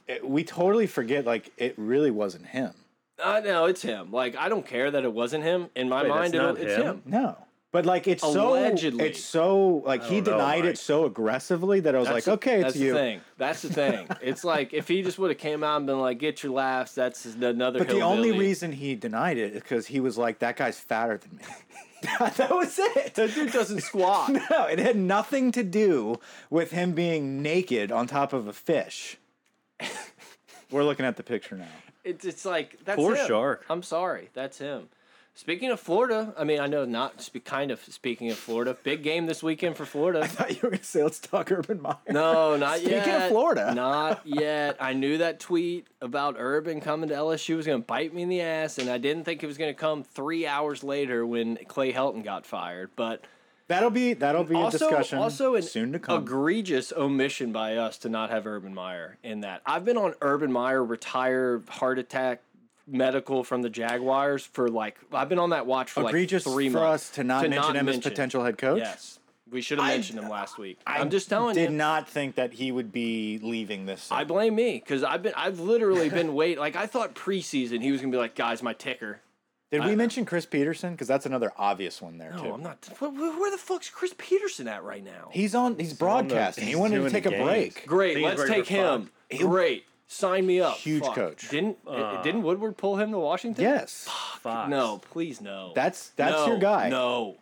[SPEAKER 1] it, we totally forget like it really wasn't him.
[SPEAKER 2] Uh, no, it's him. Like I don't care that it wasn't him. In my
[SPEAKER 3] Wait, that's
[SPEAKER 2] mind, it,
[SPEAKER 3] not
[SPEAKER 2] it's
[SPEAKER 3] him?
[SPEAKER 2] him.
[SPEAKER 1] No. But like it's
[SPEAKER 2] Allegedly.
[SPEAKER 1] so it's so like he
[SPEAKER 3] don't know,
[SPEAKER 1] denied
[SPEAKER 3] Mike.
[SPEAKER 1] it so aggressively that I was
[SPEAKER 2] That's
[SPEAKER 1] like,
[SPEAKER 2] the-
[SPEAKER 1] okay,
[SPEAKER 2] that's
[SPEAKER 1] it's you.
[SPEAKER 2] the thing. That's the thing. it's like if he just would have came out and been like, "Get your laughs." That's just another.
[SPEAKER 1] But the only
[SPEAKER 2] hillbilly.
[SPEAKER 1] reason he denied it is because he was like, that guy's fatter than me. that was it.
[SPEAKER 2] that dude doesn't squat.
[SPEAKER 1] No, it had nothing to do with him being naked on top of a fish. We're looking at the picture now.
[SPEAKER 2] It's it's like that's
[SPEAKER 3] Poor
[SPEAKER 2] him.
[SPEAKER 3] shark.
[SPEAKER 2] I'm sorry, that's him. Speaking of Florida, I mean, I know not. Spe- kind of speaking of Florida, big game this weekend for Florida.
[SPEAKER 1] thought you were going to say, let's talk Urban Meyer.
[SPEAKER 2] No, not
[SPEAKER 1] Speaking
[SPEAKER 2] yet.
[SPEAKER 1] of Florida.
[SPEAKER 2] not yet. I knew that tweet about Urban coming to LSU was going to bite me in the ass, and I didn't think it was going to come three hours later when Clay Helton got fired. But
[SPEAKER 1] That'll be that'll be a
[SPEAKER 2] also,
[SPEAKER 1] discussion
[SPEAKER 2] also an
[SPEAKER 1] soon to come.
[SPEAKER 2] egregious omission by us to not have Urban Meyer in that. I've been on Urban Meyer retire heart attack medical from the Jaguars for like I've been on that watch for
[SPEAKER 1] egregious
[SPEAKER 2] like three
[SPEAKER 1] for
[SPEAKER 2] months
[SPEAKER 1] us to not mention him as potential head coach.
[SPEAKER 2] Yes, we should have mentioned him last week. I
[SPEAKER 1] I
[SPEAKER 2] am just telling
[SPEAKER 1] did
[SPEAKER 2] you.
[SPEAKER 1] not think that he would be leaving this.
[SPEAKER 2] I
[SPEAKER 1] soon.
[SPEAKER 2] blame me because I've been I've literally been wait like I thought preseason he was gonna be like guys my ticker.
[SPEAKER 1] Did we mention Chris Peterson? Because that's another obvious one there
[SPEAKER 2] No,
[SPEAKER 1] too.
[SPEAKER 2] I'm not. Where, where the fuck's Chris Peterson at right now?
[SPEAKER 1] He's on. He's broadcasting.
[SPEAKER 3] he's
[SPEAKER 1] he wanted to
[SPEAKER 3] doing the
[SPEAKER 1] take a
[SPEAKER 3] games.
[SPEAKER 1] break.
[SPEAKER 2] Great,
[SPEAKER 3] Think he's
[SPEAKER 2] let's
[SPEAKER 3] ready
[SPEAKER 2] take
[SPEAKER 3] for five.
[SPEAKER 2] him. Great, sign me up.
[SPEAKER 1] Huge
[SPEAKER 2] Fuck.
[SPEAKER 1] coach.
[SPEAKER 2] Didn't uh, didn't Woodward pull him to Washington?
[SPEAKER 1] Yes,
[SPEAKER 3] Fox.
[SPEAKER 2] No, please no.
[SPEAKER 1] that's that's
[SPEAKER 2] No,
[SPEAKER 1] your guy.
[SPEAKER 2] No.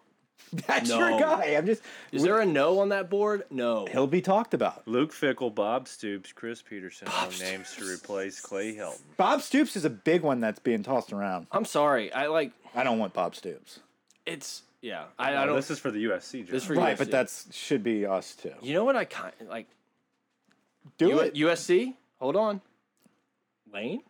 [SPEAKER 1] that's
[SPEAKER 2] No.
[SPEAKER 1] your guy. I'm just.
[SPEAKER 2] Is there a no on that board? No.
[SPEAKER 1] He'll be talked about.
[SPEAKER 3] Luke Fickle, Bob Stoops, Chris Peterson are names to replace Clay Helton.
[SPEAKER 1] Bob Stoops is a big one that's being tossed around.
[SPEAKER 2] I'm sorry. I like
[SPEAKER 1] I don't want Bob Stoops.
[SPEAKER 2] it's yeah. I, I don't.
[SPEAKER 3] this is for the USC. John.
[SPEAKER 2] this for
[SPEAKER 1] Right,
[SPEAKER 2] USC.
[SPEAKER 1] but that's should be us too.
[SPEAKER 2] you know what I kind like
[SPEAKER 1] Do
[SPEAKER 2] U-
[SPEAKER 1] it.
[SPEAKER 2] USC. Hold on. Lane.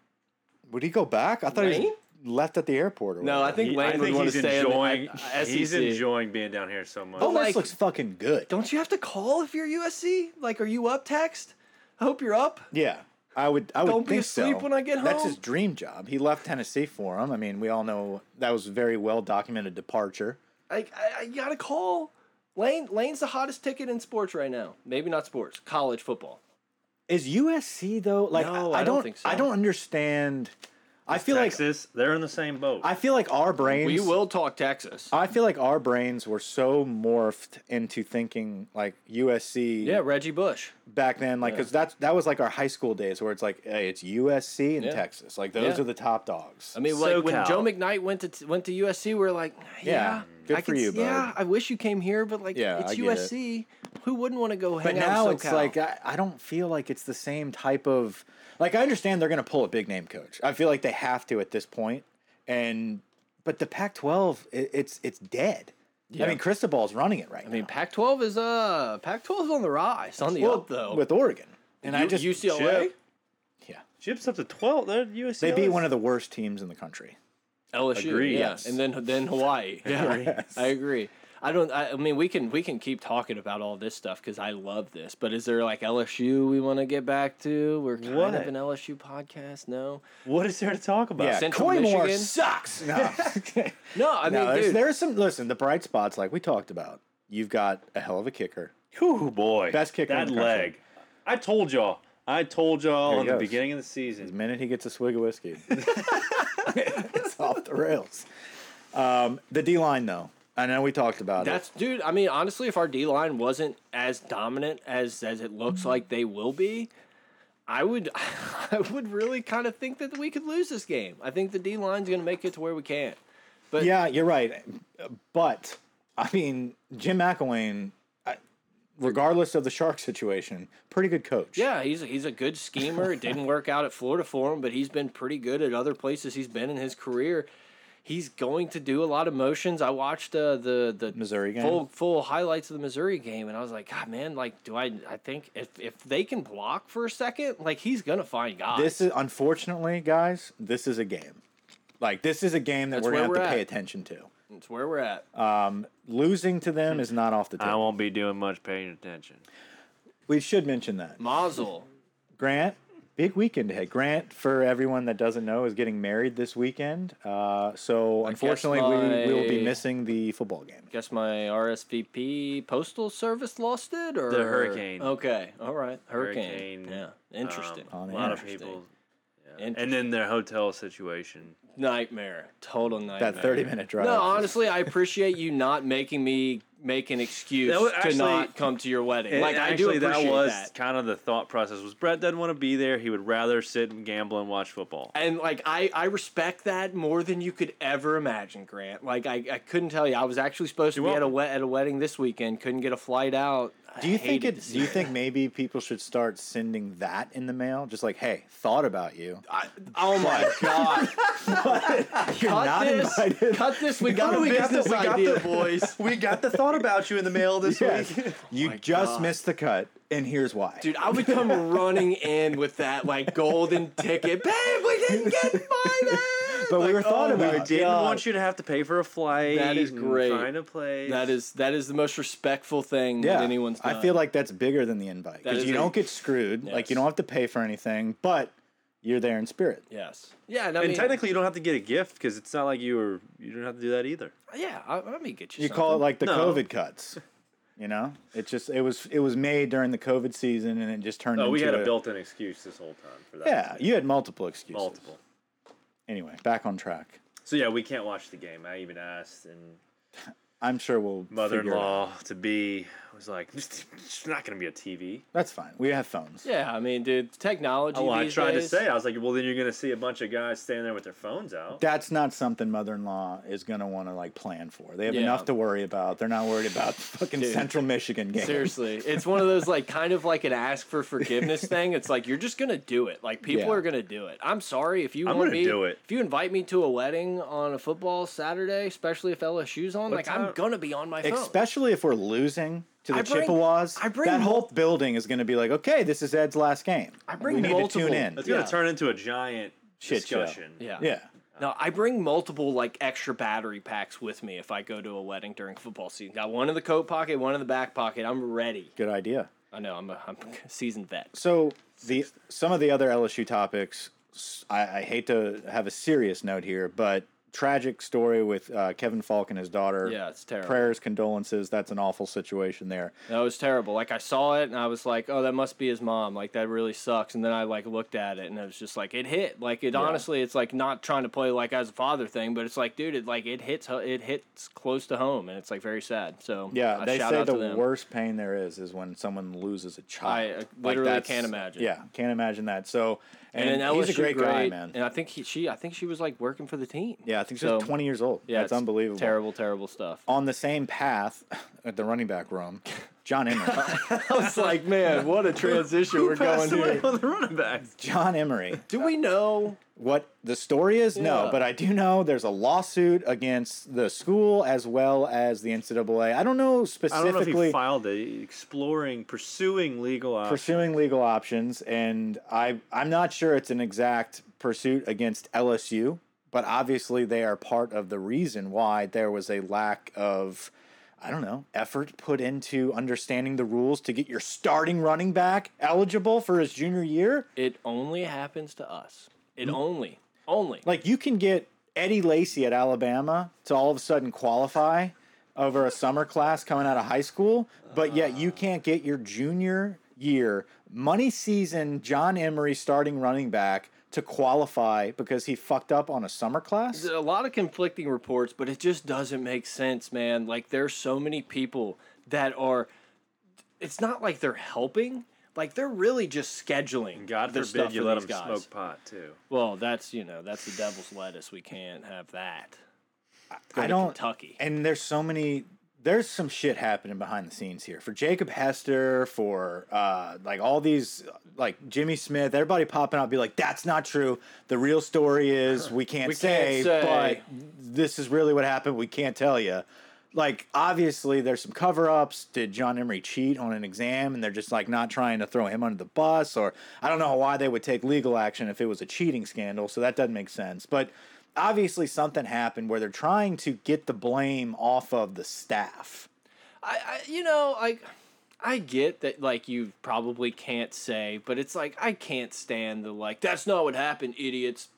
[SPEAKER 1] Would he go back? I thought he
[SPEAKER 2] Lane?
[SPEAKER 1] was left at the airport. Or
[SPEAKER 2] No, I
[SPEAKER 1] whatever.
[SPEAKER 2] think
[SPEAKER 3] He-
[SPEAKER 2] Lane
[SPEAKER 3] I
[SPEAKER 2] would
[SPEAKER 3] think
[SPEAKER 2] want
[SPEAKER 3] he's
[SPEAKER 2] to stay
[SPEAKER 3] enjoying.
[SPEAKER 2] in the, I- E I-
[SPEAKER 3] he's
[SPEAKER 2] SEC.
[SPEAKER 3] enjoying being down here so much.
[SPEAKER 1] Ole Miss
[SPEAKER 2] like-
[SPEAKER 1] Oh, looks fucking good.
[SPEAKER 2] Don't you have to call if you're USC? Like, are you up text? I hope you're up.
[SPEAKER 1] Yeah, I would. I would
[SPEAKER 2] Don't be
[SPEAKER 1] think
[SPEAKER 2] asleep
[SPEAKER 1] so.
[SPEAKER 2] when I get
[SPEAKER 1] That's
[SPEAKER 2] home.
[SPEAKER 1] his dream job. He left Tennessee for him. I mean, we all know that was a very well documented departure.
[SPEAKER 2] Like, I, I you gotta call. Lane Lane's the hottest ticket in sports right now. Maybe not sports, college football.
[SPEAKER 1] Is USC though? Like,
[SPEAKER 2] No,
[SPEAKER 1] I,
[SPEAKER 2] I
[SPEAKER 1] I
[SPEAKER 2] don't
[SPEAKER 1] don't.
[SPEAKER 2] think so.
[SPEAKER 1] I don't understand. I feel like
[SPEAKER 3] Texas, they're in the same boat.
[SPEAKER 1] I feel like our brains.
[SPEAKER 2] We will talk Texas.
[SPEAKER 1] I feel like our brains were so morphed into thinking like USC
[SPEAKER 2] Yeah, Reggie Bush.
[SPEAKER 1] back then, like because that's that was like our high school days where it's like hey, it's USC and
[SPEAKER 2] Yeah.
[SPEAKER 1] Texas, like those
[SPEAKER 2] Yeah.
[SPEAKER 1] are the top dogs.
[SPEAKER 2] I mean, like when
[SPEAKER 3] SoCal.
[SPEAKER 2] Joe McKnight went to went to USC, we we're like, yeah,
[SPEAKER 1] Yeah, good
[SPEAKER 2] I
[SPEAKER 1] for
[SPEAKER 2] could-
[SPEAKER 1] you, bud.
[SPEAKER 2] Yeah, I wish you came here, but like,
[SPEAKER 1] Yeah,
[SPEAKER 2] it's
[SPEAKER 1] I get it.
[SPEAKER 2] USC. Who wouldn't want to go hang
[SPEAKER 1] But
[SPEAKER 2] out?
[SPEAKER 1] now
[SPEAKER 2] in
[SPEAKER 1] it's
[SPEAKER 2] SoCal?
[SPEAKER 1] like I, I don't feel like it's the same type of like I understand they're gonna pull a big name coach. I feel like they have to at this point. And but the Pac-12, it, it's it's dead. I mean, Cristobal's running it right
[SPEAKER 2] I mean, Pac-12 is uh, Pac-12 is on the rise, on the
[SPEAKER 1] now.
[SPEAKER 2] up though.
[SPEAKER 1] with Oregon. And I
[SPEAKER 2] U-
[SPEAKER 1] just
[SPEAKER 2] UCLA,
[SPEAKER 3] Chip.
[SPEAKER 1] yeah,
[SPEAKER 3] Chips up to 12. They're USC.
[SPEAKER 1] they beat one of the worst teams in the country.
[SPEAKER 2] LSU,
[SPEAKER 3] Agree.
[SPEAKER 2] yeah,
[SPEAKER 3] Yes.
[SPEAKER 2] and then then Hawaii. Yeah, I agree. I don't. I, I mean, we can we can keep talking about all this stuff because I love this. But is there like LSU we want to get back to? We're kind
[SPEAKER 3] What?
[SPEAKER 2] of an LSU podcast. No,
[SPEAKER 3] What is there to talk about?
[SPEAKER 1] Yeah,
[SPEAKER 2] Central
[SPEAKER 1] Coy Moore
[SPEAKER 2] Michigan?
[SPEAKER 1] sucks. No,
[SPEAKER 2] no. I mean,
[SPEAKER 1] no there's,
[SPEAKER 2] dude,
[SPEAKER 1] there's some. Listen, the bright spots like we talked about. You've got a hell of a kicker.
[SPEAKER 3] Whew, boy.
[SPEAKER 1] Best kicker in
[SPEAKER 3] That
[SPEAKER 1] the country.
[SPEAKER 3] leg. I told y'all. I told y'all
[SPEAKER 1] There he
[SPEAKER 3] in the
[SPEAKER 1] goes.
[SPEAKER 3] beginning of the
[SPEAKER 1] The
[SPEAKER 3] season.
[SPEAKER 1] minute he gets a swig of whiskey, it's off the rails. Um, the D line, though, I know we talked about
[SPEAKER 2] That's dude. I mean, honestly, if our D line wasn't as dominant as as it looks like they will be, I would I would really kind of think that we could lose this game. I think the D line's going to make it to where we can't.
[SPEAKER 1] it. Yeah, you're right. But I mean, Jim McElwain, I- regardless of the shark situation, pretty good coach.
[SPEAKER 2] Yeah, he's a, he's a good schemer. It didn't work out at Florida for him, but he's been pretty good at other places he's been in his career. He's going to do a lot of motions. I watched uh, the the
[SPEAKER 1] Missouri game.
[SPEAKER 2] full full highlights of the Missouri game, and I was like, God, man, like, do I? I think if if they can block for a second, like he's gonna find God.
[SPEAKER 1] This is unfortunately, guys. This is a game. Like this is a game that
[SPEAKER 2] That's
[SPEAKER 1] we're gonna have
[SPEAKER 2] where
[SPEAKER 1] to
[SPEAKER 2] we're
[SPEAKER 1] pay
[SPEAKER 2] at.
[SPEAKER 1] attention to.
[SPEAKER 2] That's where we're at.
[SPEAKER 1] Uh, Losing to
[SPEAKER 2] Hmm.
[SPEAKER 1] them is not off the
[SPEAKER 3] I
[SPEAKER 1] table.
[SPEAKER 3] won't be doing much paying attention.
[SPEAKER 1] We should mention that.
[SPEAKER 2] Mazel.
[SPEAKER 1] Grant, big weekend ahead. Grant, for everyone that doesn't know, is getting married this weekend. Uh, so
[SPEAKER 2] guess
[SPEAKER 1] unfortunately, we, we will be
[SPEAKER 2] my-
[SPEAKER 1] missing the football game.
[SPEAKER 2] Guess my RSVP postal service lost it, or
[SPEAKER 3] The hurricane.
[SPEAKER 2] Okay, all right, hurricane.
[SPEAKER 3] Hurricane, um,
[SPEAKER 2] Yeah, interesting.
[SPEAKER 1] On
[SPEAKER 3] a lot of
[SPEAKER 2] interesting.
[SPEAKER 3] people.
[SPEAKER 2] Interesting.
[SPEAKER 3] And then their hotel situation.
[SPEAKER 2] nightmare, total nightmare.
[SPEAKER 1] That 30 minute drive.
[SPEAKER 2] No,
[SPEAKER 1] is-
[SPEAKER 2] honestly, I appreciate you not making me make an excuse
[SPEAKER 3] That was
[SPEAKER 2] to
[SPEAKER 3] actually-
[SPEAKER 2] not come to your wedding.
[SPEAKER 3] And
[SPEAKER 2] like I do
[SPEAKER 3] actually,
[SPEAKER 2] appreciate that.
[SPEAKER 3] that was kind of the thought process. Was Brett doesn't want to be there. He would rather sit and gamble and watch football.
[SPEAKER 2] And like I, I respect that more than you could ever imagine, Grant. Like I, I couldn't tell you. I was actually supposed to
[SPEAKER 3] You're
[SPEAKER 2] be at a
[SPEAKER 3] welcome.
[SPEAKER 2] we- at a wedding this weekend. Couldn't get a flight out.
[SPEAKER 1] Do you think it? Do you think maybe people should start sending that in the mail? Just like, hey, thought about you.
[SPEAKER 2] I, oh my god!
[SPEAKER 1] You're
[SPEAKER 2] cut
[SPEAKER 1] not
[SPEAKER 2] this!
[SPEAKER 1] invited.
[SPEAKER 2] Cut this! We got
[SPEAKER 1] No,
[SPEAKER 2] a
[SPEAKER 1] we got the-
[SPEAKER 2] business
[SPEAKER 1] we got
[SPEAKER 2] idea,
[SPEAKER 1] the-
[SPEAKER 2] boys.
[SPEAKER 4] We got the thought about you in the mail this
[SPEAKER 1] Yes.
[SPEAKER 4] week.
[SPEAKER 1] you just missed the cut, and here's why.
[SPEAKER 2] Oh Dude, I would come running in with that like golden ticket, babe. We didn't get invited.
[SPEAKER 1] but we
[SPEAKER 2] Like,
[SPEAKER 1] were thought
[SPEAKER 2] oh
[SPEAKER 1] about.
[SPEAKER 2] my
[SPEAKER 1] it.
[SPEAKER 3] Didn't
[SPEAKER 2] God.
[SPEAKER 3] want you to have to pay for a flight.
[SPEAKER 2] That is
[SPEAKER 3] and
[SPEAKER 2] great.
[SPEAKER 3] Find a place.
[SPEAKER 2] That is that is the most respectful thing
[SPEAKER 1] yeah,
[SPEAKER 2] that anyone's done.
[SPEAKER 1] I feel like that's bigger than the invite
[SPEAKER 2] That
[SPEAKER 1] because
[SPEAKER 2] is
[SPEAKER 1] you
[SPEAKER 2] a-
[SPEAKER 1] don't get screwed. Like you
[SPEAKER 2] Yes.
[SPEAKER 1] don't have to pay for anything, but you're there in spirit.
[SPEAKER 2] yes, yeah, and I
[SPEAKER 3] And
[SPEAKER 2] mean,
[SPEAKER 3] technically, you don't have to get a gift because it's not like you were. You don't have to do that either.
[SPEAKER 2] yeah, I, let me get you.
[SPEAKER 1] You call it like the
[SPEAKER 3] No.
[SPEAKER 1] COVID cuts. You know, it just it was it was made during the COVID season, and it just turned.
[SPEAKER 3] Oh, we
[SPEAKER 1] into
[SPEAKER 3] had a built-in excuse this whole time for that.
[SPEAKER 1] Yeah, you had multiple excuses.
[SPEAKER 3] multiple.
[SPEAKER 1] Anyway, back on track.
[SPEAKER 3] So yeah, we can't watch the game. I even asked, and
[SPEAKER 1] I'm sure we'll figure it out.
[SPEAKER 3] mother-in-law to be was like, "It's not going to be a TV."
[SPEAKER 1] That's fine. We have phones.
[SPEAKER 2] Yeah, I mean, dude, technology.
[SPEAKER 3] Oh, I
[SPEAKER 2] these
[SPEAKER 3] tried
[SPEAKER 2] days-
[SPEAKER 3] to say, I was like, "Well, then you're going to see a bunch of guys standing there with their phones out."
[SPEAKER 1] That's not something mother-in-law is gonna want to like plan for. They have
[SPEAKER 2] Yeah.
[SPEAKER 1] enough to worry about. They're not worried about the fucking Central Michigan game.
[SPEAKER 2] Seriously, it's one of those like kind of like an ask for forgiveness thing. It's like you're just gonna do it. Like people
[SPEAKER 1] Yeah.
[SPEAKER 2] are gonna do it. I'm sorry if you
[SPEAKER 3] I'm
[SPEAKER 2] want
[SPEAKER 3] gonna
[SPEAKER 2] me.
[SPEAKER 3] do it.
[SPEAKER 2] If you invite me to a wedding on a football Saturday, especially if LSU's on, like I'm
[SPEAKER 3] time?
[SPEAKER 2] gonna be on my phone.
[SPEAKER 1] Especially if we're losing to the
[SPEAKER 2] I bring-
[SPEAKER 1] Chippewas.
[SPEAKER 2] I bring
[SPEAKER 1] that
[SPEAKER 2] mul-
[SPEAKER 1] whole building is gonna be like, okay, this is Ed's last game.
[SPEAKER 2] I bring
[SPEAKER 1] we need
[SPEAKER 2] multiple-
[SPEAKER 1] to tune in.
[SPEAKER 3] It's going
[SPEAKER 2] Yeah.
[SPEAKER 3] to turn into a giant
[SPEAKER 1] Shit show.
[SPEAKER 3] discussion.
[SPEAKER 2] yeah.
[SPEAKER 1] Yeah.
[SPEAKER 2] No, I bring multiple like extra battery packs with me if I go to a wedding during football season. Got one in the coat pocket, one in the back pocket. I'm ready.
[SPEAKER 1] Good idea.
[SPEAKER 2] I know I'm a, I'm a seasoned vet.
[SPEAKER 1] So the some of the other LSU topics, s- I, I hate to have a serious note here, but tragic story with uh, Kevin Falk and his daughter.
[SPEAKER 2] Yeah, it's terrible.
[SPEAKER 1] Prayers, condolences. That's an awful situation there.
[SPEAKER 2] That was terrible. Like I saw it and I was like, "Oh, that must be his mom." Like that really sucks. And then I like looked at it and it was just like it hit. Like it honestly, it's like not trying to play like as a father thing, but it's like, dude, it like it hits ho- it hits close to home and it's like very sad. So
[SPEAKER 1] Yeah,
[SPEAKER 2] uh,
[SPEAKER 1] they
[SPEAKER 2] shout
[SPEAKER 1] say
[SPEAKER 2] out to
[SPEAKER 1] the
[SPEAKER 2] them.
[SPEAKER 1] worst pain there is is when someone loses a child.
[SPEAKER 2] I, uh,
[SPEAKER 1] Like,
[SPEAKER 2] literally
[SPEAKER 1] that's-
[SPEAKER 2] can't imagine.
[SPEAKER 1] Yeah, can't imagine that. So and,
[SPEAKER 2] And, then
[SPEAKER 1] he's
[SPEAKER 2] LSU
[SPEAKER 1] a great, guy, man.
[SPEAKER 2] And I think he, she I think she was like working for the team.
[SPEAKER 1] yeah, I think she's
[SPEAKER 2] So,
[SPEAKER 1] 20 years old. Yeah, that's
[SPEAKER 2] it's
[SPEAKER 1] unbelievable.
[SPEAKER 2] Terrible, terrible stuff.
[SPEAKER 1] On the same path at the running back room, John Emery.
[SPEAKER 2] I was like, man, what a transition we're going
[SPEAKER 3] Somebody
[SPEAKER 2] here.
[SPEAKER 3] on the running backs.
[SPEAKER 1] John Emery.
[SPEAKER 2] Do we know?
[SPEAKER 1] What the story is, no,
[SPEAKER 2] Yeah.
[SPEAKER 1] but I do know there's a lawsuit against the school as well as the NCAA. I don't know
[SPEAKER 3] I don't know if he
[SPEAKER 1] specifically
[SPEAKER 3] filed it. Exploring, pursuing legal options.
[SPEAKER 1] pursuing legal options, and I I'm not sure it's an exact pursuit against LSU, but obviously they are part of the reason why there was a lack of. I don't know, effort put into understanding the rules to get your starting running back eligible for his junior year.
[SPEAKER 2] It only happens to us. It only, only.
[SPEAKER 1] Like you can get Eddie Lacy at Alabama to all of a sudden qualify over a summer class coming out of high school, but yet you can't get your junior year money season John Emery starting running back to qualify because he fucked up on a summer class.
[SPEAKER 2] a lot of conflicting reports, but it just doesn't make sense, man. Like there's so many people that are it's not like they're helping. Like they're really just scheduling.
[SPEAKER 3] God
[SPEAKER 2] the stuff
[SPEAKER 3] forbid you
[SPEAKER 2] for
[SPEAKER 3] let
[SPEAKER 2] these
[SPEAKER 3] him
[SPEAKER 2] guys.
[SPEAKER 3] smoke pot too.
[SPEAKER 2] Well, that's you know that's the devil's lettuce. We can't have that.
[SPEAKER 1] I
[SPEAKER 2] Go to
[SPEAKER 1] don't
[SPEAKER 2] Kentucky.
[SPEAKER 1] and there's so many there's some shit happening behind the scenes here for Jacob Hester, for uh, like all these, like Jimmy Smith, everybody popping out, be like, that's not true. The real story is we can't,
[SPEAKER 2] We can't
[SPEAKER 1] say,
[SPEAKER 2] say."
[SPEAKER 1] but this is really what happened. We can't tell you. Like, obviously, there's some cover ups. Did John Emery cheat on an exam? And they're just like not trying to throw him under the bus, or I don't know why they would take legal action if it was a cheating scandal. So that doesn't make sense. But obviously, something happened where they're trying to get the blame off of the staff.
[SPEAKER 2] I, I you know I I get that like you probably can't say, but it's like I can't stand the like that's not what happened, idiots.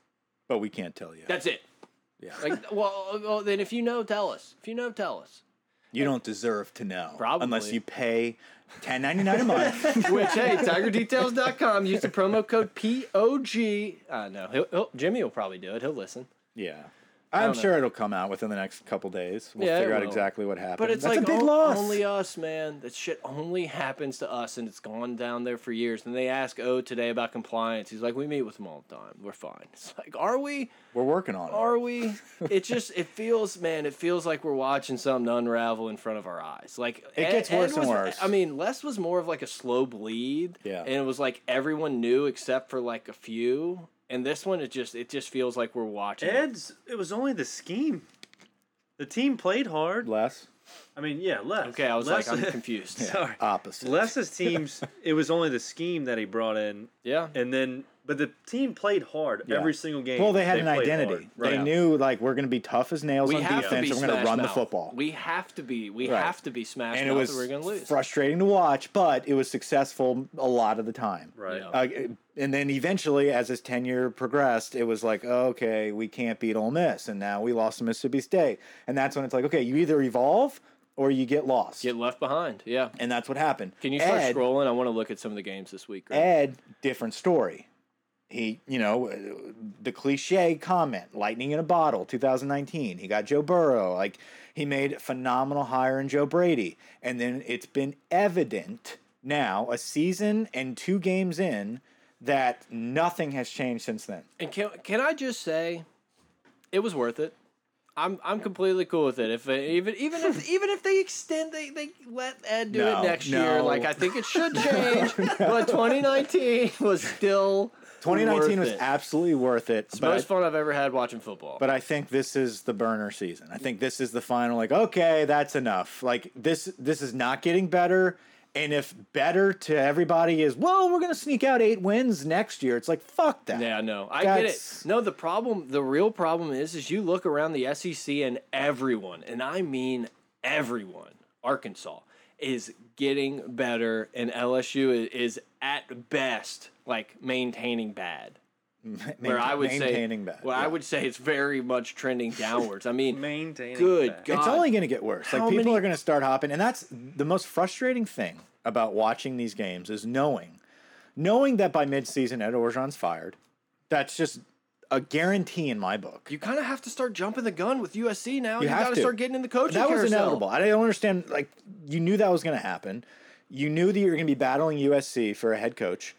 [SPEAKER 1] But we can't tell you.
[SPEAKER 2] That's it.
[SPEAKER 1] Yeah.
[SPEAKER 2] Like well, well then if you know, tell us. If you know, tell us.
[SPEAKER 1] you don't deserve to know. Unless
[SPEAKER 2] Probably.
[SPEAKER 1] you pay ten ninety nine a month.
[SPEAKER 2] Which hey, tigerdetails.com. Use the promo code POG. I know Uh, he'll, he'll, Jimmy will probably do it. He'll listen.
[SPEAKER 1] yeah. I'm
[SPEAKER 2] don't know.
[SPEAKER 1] sure it'll come out within the next couple days. We'll
[SPEAKER 2] Yeah, it
[SPEAKER 1] figure out
[SPEAKER 2] will.
[SPEAKER 1] exactly what happened.
[SPEAKER 2] But it's
[SPEAKER 1] That's
[SPEAKER 2] like
[SPEAKER 1] a big
[SPEAKER 2] o-
[SPEAKER 1] loss.
[SPEAKER 2] only us, man. That shit only happens to us, and it's gone down there for years. And they ask O today about compliance. He's like, "We meet with them all the time. We're fine." It's like, "Are we?
[SPEAKER 1] We're working on it.
[SPEAKER 2] Are we?" It just it feels, man. It feels like we're watching something unravel in front of our eyes. Like
[SPEAKER 1] It
[SPEAKER 2] Ed-
[SPEAKER 1] gets worse
[SPEAKER 2] Ed
[SPEAKER 1] and
[SPEAKER 2] was-
[SPEAKER 1] worse.
[SPEAKER 2] I mean, Les was more of like a slow bleed.
[SPEAKER 1] Yeah.
[SPEAKER 2] and it was like everyone knew except for like a few. And this one, it just it just feels like we're watching.
[SPEAKER 3] Ed's. It was only the scheme. The team played hard.
[SPEAKER 1] Less
[SPEAKER 3] I mean, yeah, Les.
[SPEAKER 2] Okay, I was
[SPEAKER 3] Les,
[SPEAKER 2] like, I'm confused. Uh,
[SPEAKER 3] sorry.
[SPEAKER 1] opposite.
[SPEAKER 3] Les's teams. It was only the scheme that he brought in,
[SPEAKER 2] Yeah.
[SPEAKER 3] and then but the team played hard
[SPEAKER 1] Yeah.
[SPEAKER 3] every single game.
[SPEAKER 1] Well, they had an
[SPEAKER 3] played
[SPEAKER 1] identity.
[SPEAKER 3] hard, right?
[SPEAKER 1] They knew like we're going to be tough as nails
[SPEAKER 2] we
[SPEAKER 1] on
[SPEAKER 2] have
[SPEAKER 1] defense,
[SPEAKER 2] to
[SPEAKER 1] and
[SPEAKER 2] be
[SPEAKER 1] we're going to
[SPEAKER 2] smash
[SPEAKER 1] run
[SPEAKER 2] mouth.
[SPEAKER 1] the football.
[SPEAKER 2] We have to be. We
[SPEAKER 1] Right.
[SPEAKER 2] have to be smashed.
[SPEAKER 1] and it
[SPEAKER 2] mouth
[SPEAKER 1] was
[SPEAKER 2] or we're going to lose.
[SPEAKER 1] frustrating to watch, but it was successful a lot of the time.
[SPEAKER 3] Right.
[SPEAKER 2] Yeah.
[SPEAKER 1] Uh, and then eventually, as his tenure progressed, it was like, okay, we can't beat Ole Miss, and now we lost to Mississippi State, and that's when it's like, okay, you either evolve or you get lost,
[SPEAKER 2] Get left behind. Yeah.
[SPEAKER 1] and that's what happened.
[SPEAKER 2] Can you start
[SPEAKER 1] Ed-
[SPEAKER 2] scrolling? I want to look at some of the games this week. Right?
[SPEAKER 1] Ed, different story. He, you know, uh, the cliche comment, lightning in a bottle, 2019. He got Joe Burrow. Like, he made a phenomenal hire in Joe Brady. And then it's been evident now, a season and two games in, that nothing has changed since then.
[SPEAKER 2] And can can I just say, it was worth it. I'm I'm completely cool with it. If it, even even if even if they extend, they they let Ed do
[SPEAKER 1] No,
[SPEAKER 2] it next
[SPEAKER 1] no.
[SPEAKER 2] year. Like I think it should change. But 2019 was still
[SPEAKER 1] 2019
[SPEAKER 2] worth
[SPEAKER 1] was
[SPEAKER 2] it.
[SPEAKER 1] absolutely worth it.
[SPEAKER 2] It's the
[SPEAKER 1] but I-
[SPEAKER 2] most fun I've ever had watching football.
[SPEAKER 1] but I think this is the burner season. I think this is the final like okay, that's enough. Like this this is not getting better. And if better to everybody is, well, we're gonna sneak out eight wins next year. It's like fuck that.
[SPEAKER 2] Yeah, no, I
[SPEAKER 1] That's-
[SPEAKER 2] get it. No, the problem, the real problem is, is you look around the SEC and everyone, and I mean everyone, Arkansas is getting better, and LSU i- is at best like maintaining bad. Where I would
[SPEAKER 1] maintaining
[SPEAKER 2] say,
[SPEAKER 1] bad.
[SPEAKER 2] Well, I
[SPEAKER 1] yeah.
[SPEAKER 2] would say it's very much trending downwards. I mean,
[SPEAKER 3] Maintaining
[SPEAKER 2] Good
[SPEAKER 3] back.
[SPEAKER 2] God,
[SPEAKER 1] It's only going to get worse. Like
[SPEAKER 2] How
[SPEAKER 1] people
[SPEAKER 2] many-
[SPEAKER 1] are going to start hopping, and that's the most frustrating thing about watching these games is knowing, knowing that by midseason Ed Orgeron's fired. That's just a guarantee in my book.
[SPEAKER 2] you kind of have to start jumping the gun with USC now. You,
[SPEAKER 1] have
[SPEAKER 2] got to
[SPEAKER 1] to.
[SPEAKER 2] start getting in the coaching.
[SPEAKER 1] that was
[SPEAKER 2] carousel.
[SPEAKER 1] inevitable. I don't understand. Like you knew that was going to happen. You knew that you were going to be battling USC for a head coach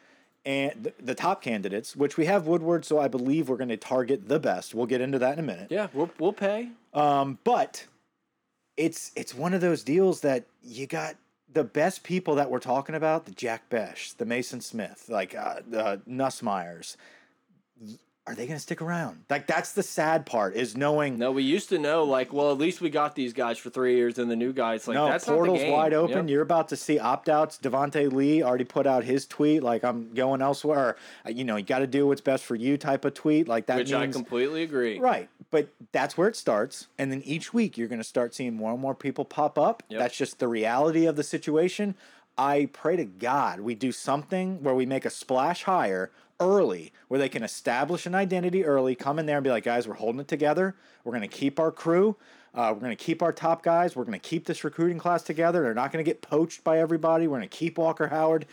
[SPEAKER 1] and the, the top candidates, which we have Woodward. So I believe we're going to target the best. We'll get into that in a minute.
[SPEAKER 2] Yeah, we'll, we'll pay.
[SPEAKER 1] Um, but it's it's one of those deals that you got the best people that we're talking about: the Jack Besh, the Mason Smith, like uh, the Nussmeyers. Are they going to stick around? Like that's the sad part is knowing
[SPEAKER 2] No, we used to know like, well, at least we got these guys for three years, and the new guys like
[SPEAKER 1] No,
[SPEAKER 2] that's
[SPEAKER 1] portals
[SPEAKER 2] not the game.
[SPEAKER 1] wide open.
[SPEAKER 2] Yep.
[SPEAKER 1] You're about to see opt outs. Devonte Lee already put out his tweet, like I'm going elsewhere. Or, you know, you got to do what's best for you type of tweet. Like that
[SPEAKER 2] Which I
[SPEAKER 1] means
[SPEAKER 2] completely agree.
[SPEAKER 1] right. But that's where it starts, and then each week you're going to start seeing more and more people pop up.
[SPEAKER 2] Yep.
[SPEAKER 1] That's just the reality of the situation. I pray to God we do something where we make a splash higher early, where they can establish an identity early, come in there and be like, guys, we're holding it together. We're going to keep our crew. Uh, we're going to keep our top guys. We're going to keep this recruiting class together. They're not going to get poached by everybody. We're going to keep Walker Howard.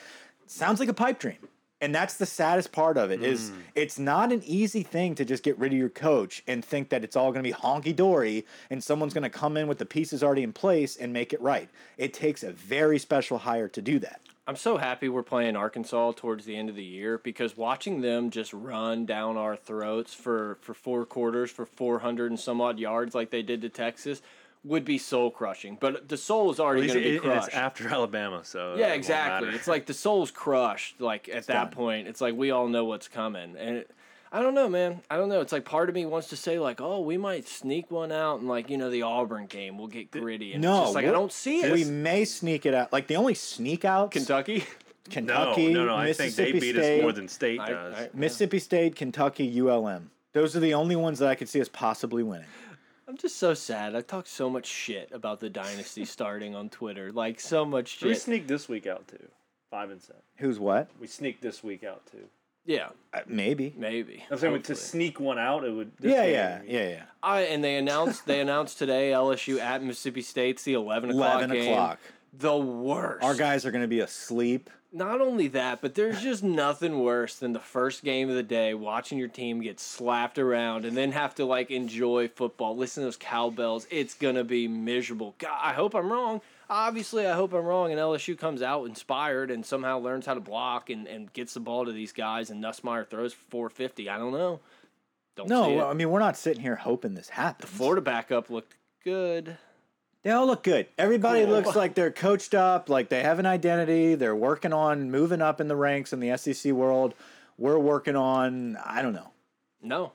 [SPEAKER 1] Sounds like a pipe dream. And that's the saddest part of it is
[SPEAKER 3] Mm.
[SPEAKER 1] it's not an easy thing to just get rid of your coach and think that it's all going to be honky dory and someone's going to come in with the pieces already in place and make it right. It takes a very special hire to do that.
[SPEAKER 2] I'm so happy we're playing Arkansas towards the end of the year because watching them just run down our throats for for four quarters for 400 and some odd yards like they did to Texas would be soul crushing. But the soul is already
[SPEAKER 3] At least
[SPEAKER 2] going to be
[SPEAKER 3] it- and it's
[SPEAKER 2] crushed.
[SPEAKER 3] after Alabama, so it
[SPEAKER 2] yeah,
[SPEAKER 3] won't
[SPEAKER 2] exactly.
[SPEAKER 3] matter.
[SPEAKER 2] It's like the soul's crushed. Like at that
[SPEAKER 1] done.
[SPEAKER 2] point, it's like we all know what's coming, and it, I don't know, man. I don't know. It's like part of me wants to say like, oh, we might sneak one out, and like you know the Auburn game, we'll get gritty. And it's
[SPEAKER 1] No,
[SPEAKER 2] just like I
[SPEAKER 1] we're-
[SPEAKER 2] don't see it.
[SPEAKER 1] We may sneak it out. Like the only sneak out
[SPEAKER 2] Kentucky.
[SPEAKER 3] no,
[SPEAKER 1] Kentucky,
[SPEAKER 3] no, no. I think
[SPEAKER 1] Mississippi
[SPEAKER 3] they beat
[SPEAKER 1] State,
[SPEAKER 3] us more than State
[SPEAKER 2] I-
[SPEAKER 3] does.
[SPEAKER 2] I-
[SPEAKER 1] Mississippi State, Kentucky, ULM. Those are the only ones that I could see us possibly winning.
[SPEAKER 2] I'm just so sad. I talked so much shit about the dynasty starting on Twitter, like so much
[SPEAKER 3] we
[SPEAKER 2] shit.
[SPEAKER 3] sneak this week out too, five and seven.
[SPEAKER 1] Who's what?
[SPEAKER 3] We sneak this week out too.
[SPEAKER 2] Yeah,
[SPEAKER 1] Uh, maybe.
[SPEAKER 2] maybe.
[SPEAKER 3] I'm saying
[SPEAKER 2] Hopefully.
[SPEAKER 3] to sneak one out, it would. this
[SPEAKER 1] Yeah,
[SPEAKER 3] game,
[SPEAKER 1] yeah,
[SPEAKER 3] I mean,
[SPEAKER 1] yeah, yeah.
[SPEAKER 2] I and they announced they announced today LSU at Mississippi State's the 11 o'clock
[SPEAKER 1] Eleven
[SPEAKER 2] game.
[SPEAKER 1] o'clock.
[SPEAKER 2] The worst.
[SPEAKER 1] Our guys are going to be asleep.
[SPEAKER 2] Not only that, but there's just nothing worse than the first game of the day watching your team get slapped around and then have to like enjoy football. Listen to those cowbells. It's gonna be miserable. God, I hope I'm wrong. Obviously, I hope I'm wrong, and LSU comes out inspired and somehow learns how to block and, and gets the ball to these guys, and Nussmeyer throws for 450. I don't know. Don't see
[SPEAKER 1] No,
[SPEAKER 2] it.
[SPEAKER 1] I mean we're not sitting here hoping this happens.
[SPEAKER 2] Florida backup looked good.
[SPEAKER 1] They all look good. Everybody
[SPEAKER 2] Cool.
[SPEAKER 1] looks like they're coached up, like they have an identity. They're working on moving up in the ranks in the SEC world. We're working on, I don't know,
[SPEAKER 2] No.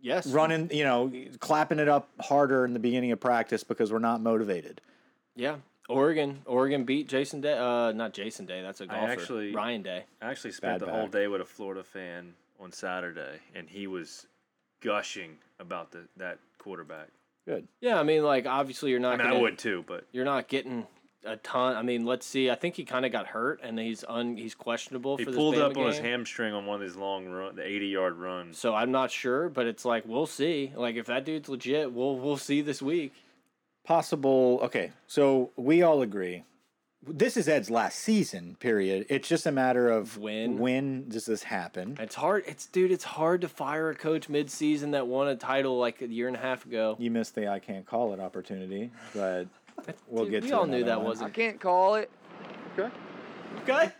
[SPEAKER 2] yes.
[SPEAKER 1] running, you know, clapping it up harder in the beginning of practice because we're not motivated.
[SPEAKER 2] Yeah. Oregon. Oregon beat Jason Day. Uh, not Jason Day. That's a golfer.
[SPEAKER 3] actually-
[SPEAKER 2] Ryan Day.
[SPEAKER 3] I actually spent
[SPEAKER 1] Bad
[SPEAKER 3] the whole
[SPEAKER 1] back.
[SPEAKER 3] day with a Florida fan on Saturday, and he was gushing about the that quarterback.
[SPEAKER 1] Good.
[SPEAKER 2] Yeah, I mean, like obviously you're not.
[SPEAKER 3] I mean, I
[SPEAKER 2] gonna-
[SPEAKER 3] would too, but
[SPEAKER 2] You're not getting a ton. I mean, let's see. I think he kind of got hurt, and he's un. He's questionable
[SPEAKER 3] he
[SPEAKER 2] for this
[SPEAKER 3] pulled
[SPEAKER 2] Bama
[SPEAKER 3] up on his
[SPEAKER 2] game.
[SPEAKER 3] hamstring on one of these long run, the 80 yard runs.
[SPEAKER 2] So I'm not sure, but it's like we'll see. Like if that dude's legit, we'll we'll see this week.
[SPEAKER 1] Possible. Okay. So we all agree. This is Ed's last season, period. It's just a matter of
[SPEAKER 2] When?
[SPEAKER 1] when does this happen?
[SPEAKER 2] It's hard. It's dude. It's hard to fire a coach mid-season that won a title like a year and a half ago.
[SPEAKER 1] You missed the I can't call it opportunity, but we'll
[SPEAKER 2] Dude,
[SPEAKER 1] get
[SPEAKER 2] we
[SPEAKER 1] to
[SPEAKER 2] all knew
[SPEAKER 1] another
[SPEAKER 2] that
[SPEAKER 1] one.
[SPEAKER 2] wasn't
[SPEAKER 5] can't call it.
[SPEAKER 2] okay.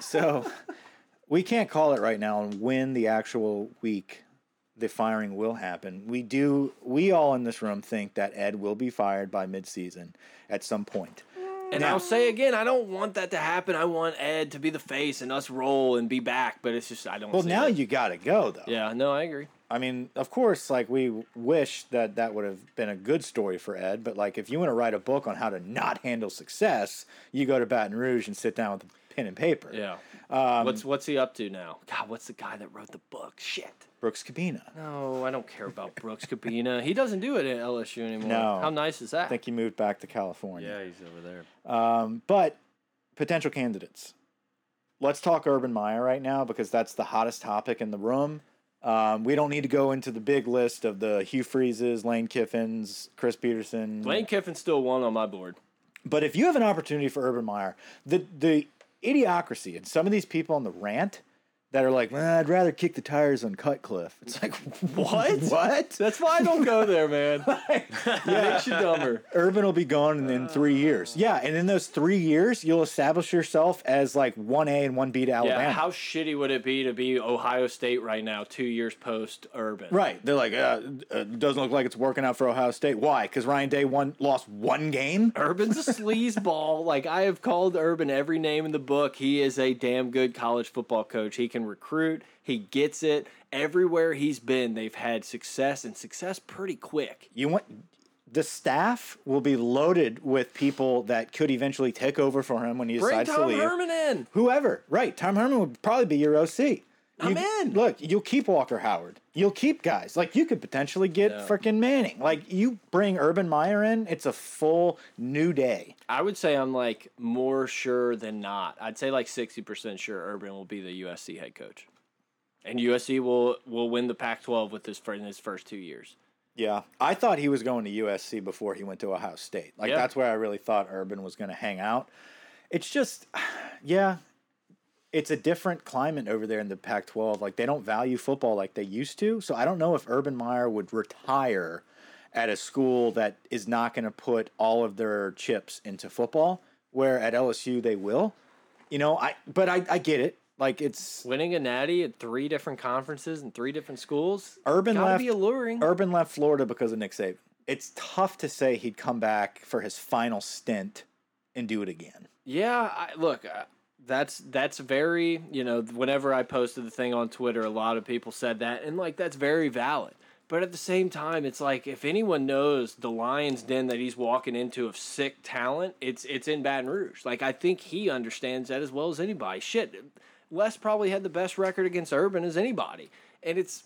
[SPEAKER 1] So we can't call it right now and when the actual week the firing will happen. We do we all in this room think that Ed will be fired by midseason at some point.
[SPEAKER 2] And
[SPEAKER 1] Now-
[SPEAKER 2] I'll say again, I don't want that to happen. I want Ed to be the face and us roll and be back, but it's just I don't.
[SPEAKER 1] Well,
[SPEAKER 2] see
[SPEAKER 1] now
[SPEAKER 2] it.
[SPEAKER 1] you got to go though.
[SPEAKER 2] Yeah, no, I agree.
[SPEAKER 1] I mean, of course like we wish that that would have been a good story for Ed, but like if you want to write a book on how to not handle success, you go to Baton Rouge and sit down with pen and paper.
[SPEAKER 2] Yeah. what's what's he up to now? God, what's the guy that wrote the book? Shit.
[SPEAKER 1] Brooks Cabina.
[SPEAKER 2] No, I don't care about Brooks Cabina. He doesn't do it at LSU anymore.
[SPEAKER 1] No.
[SPEAKER 2] How nice is that?
[SPEAKER 1] I think he moved back to California.
[SPEAKER 3] Yeah, he's over there.
[SPEAKER 1] But potential candidates. Let's talk Urban Meyer right now because that's the hottest topic in the room. Um, we don't need to go into the big list of the Hugh Freezes, Lane Kiffins, Chris Peterson.
[SPEAKER 2] Lane Kiffin's still one on my board.
[SPEAKER 1] But if you have an opportunity for Urban Meyer, the the idiocracy and some of these people on the rant that are like, "Nah, I'd rather kick the tires on Cutcliffe. It's like, what? What?
[SPEAKER 2] That's why I don't go there, man. yeah, makes you dumber.
[SPEAKER 1] Urban will be gone in, in three years. Yeah, and in those three years, you'll establish yourself as like one A and one B to Alabama.
[SPEAKER 2] Yeah, how shitty would it be to be Ohio State right now, two years post Urban?
[SPEAKER 1] Right. They're like, uh, uh, doesn't look like it's working out for Ohio State. Why? Because Ryan Day won, lost one game.
[SPEAKER 2] Urban's a sleazeball. Like I have called Urban every name in the book. He is a damn good college football coach. He can recruit. He gets it. Everywhere he's been, they've had success and success pretty quick.
[SPEAKER 1] You want the staff will be loaded with people that could eventually take over for him when he
[SPEAKER 2] Bring
[SPEAKER 1] decides to
[SPEAKER 2] Tom
[SPEAKER 1] leave.
[SPEAKER 2] Herman in.
[SPEAKER 1] Whoever. Right. Tom Herman would probably be your OC.
[SPEAKER 2] I'm
[SPEAKER 1] You-
[SPEAKER 2] in.
[SPEAKER 1] Look, you'll keep Walker Howard. You'll keep guys. Like you could potentially get
[SPEAKER 2] Yeah.
[SPEAKER 1] frickin' Manning. Like you bring Urban Meyer in, it's a full new day.
[SPEAKER 2] I would say I'm like more sure than not. I'd say like 60% sure Urban will be the USC head coach. And USC will will win the Pac-12 with his in his first two years.
[SPEAKER 1] Yeah, I thought he was going to USC before he went to Ohio State. Like
[SPEAKER 2] Yeah.
[SPEAKER 1] that's where I really thought Urban was going to hang out. It's just, yeah, it's a different climate over there in the Pac-12. Like they don't value football like they used to. So I don't know if Urban Meyer would retire at a school that is not going to put all of their chips into football. Where at LSU they will, you know. I but I, I get it. Like it's
[SPEAKER 2] Winning a natty at three different conferences and three different schools.
[SPEAKER 1] Urban
[SPEAKER 2] gotta
[SPEAKER 1] left-
[SPEAKER 2] be alluring.
[SPEAKER 1] Urban left Florida because of Nick Saban. it's tough to say he'd come back for his final stint and do it again.
[SPEAKER 2] Yeah, I, look, uh, that's that's very you know. Whenever I posted the thing on Twitter, a lot of people said that, and like that's very valid. But at the same time, it's like if anyone knows the lion's den that he's walking into of sick talent, it's it's in Baton Rouge. Like I think he understands that as well as anybody. Shit, Les probably had the best record against Urban as anybody, and it's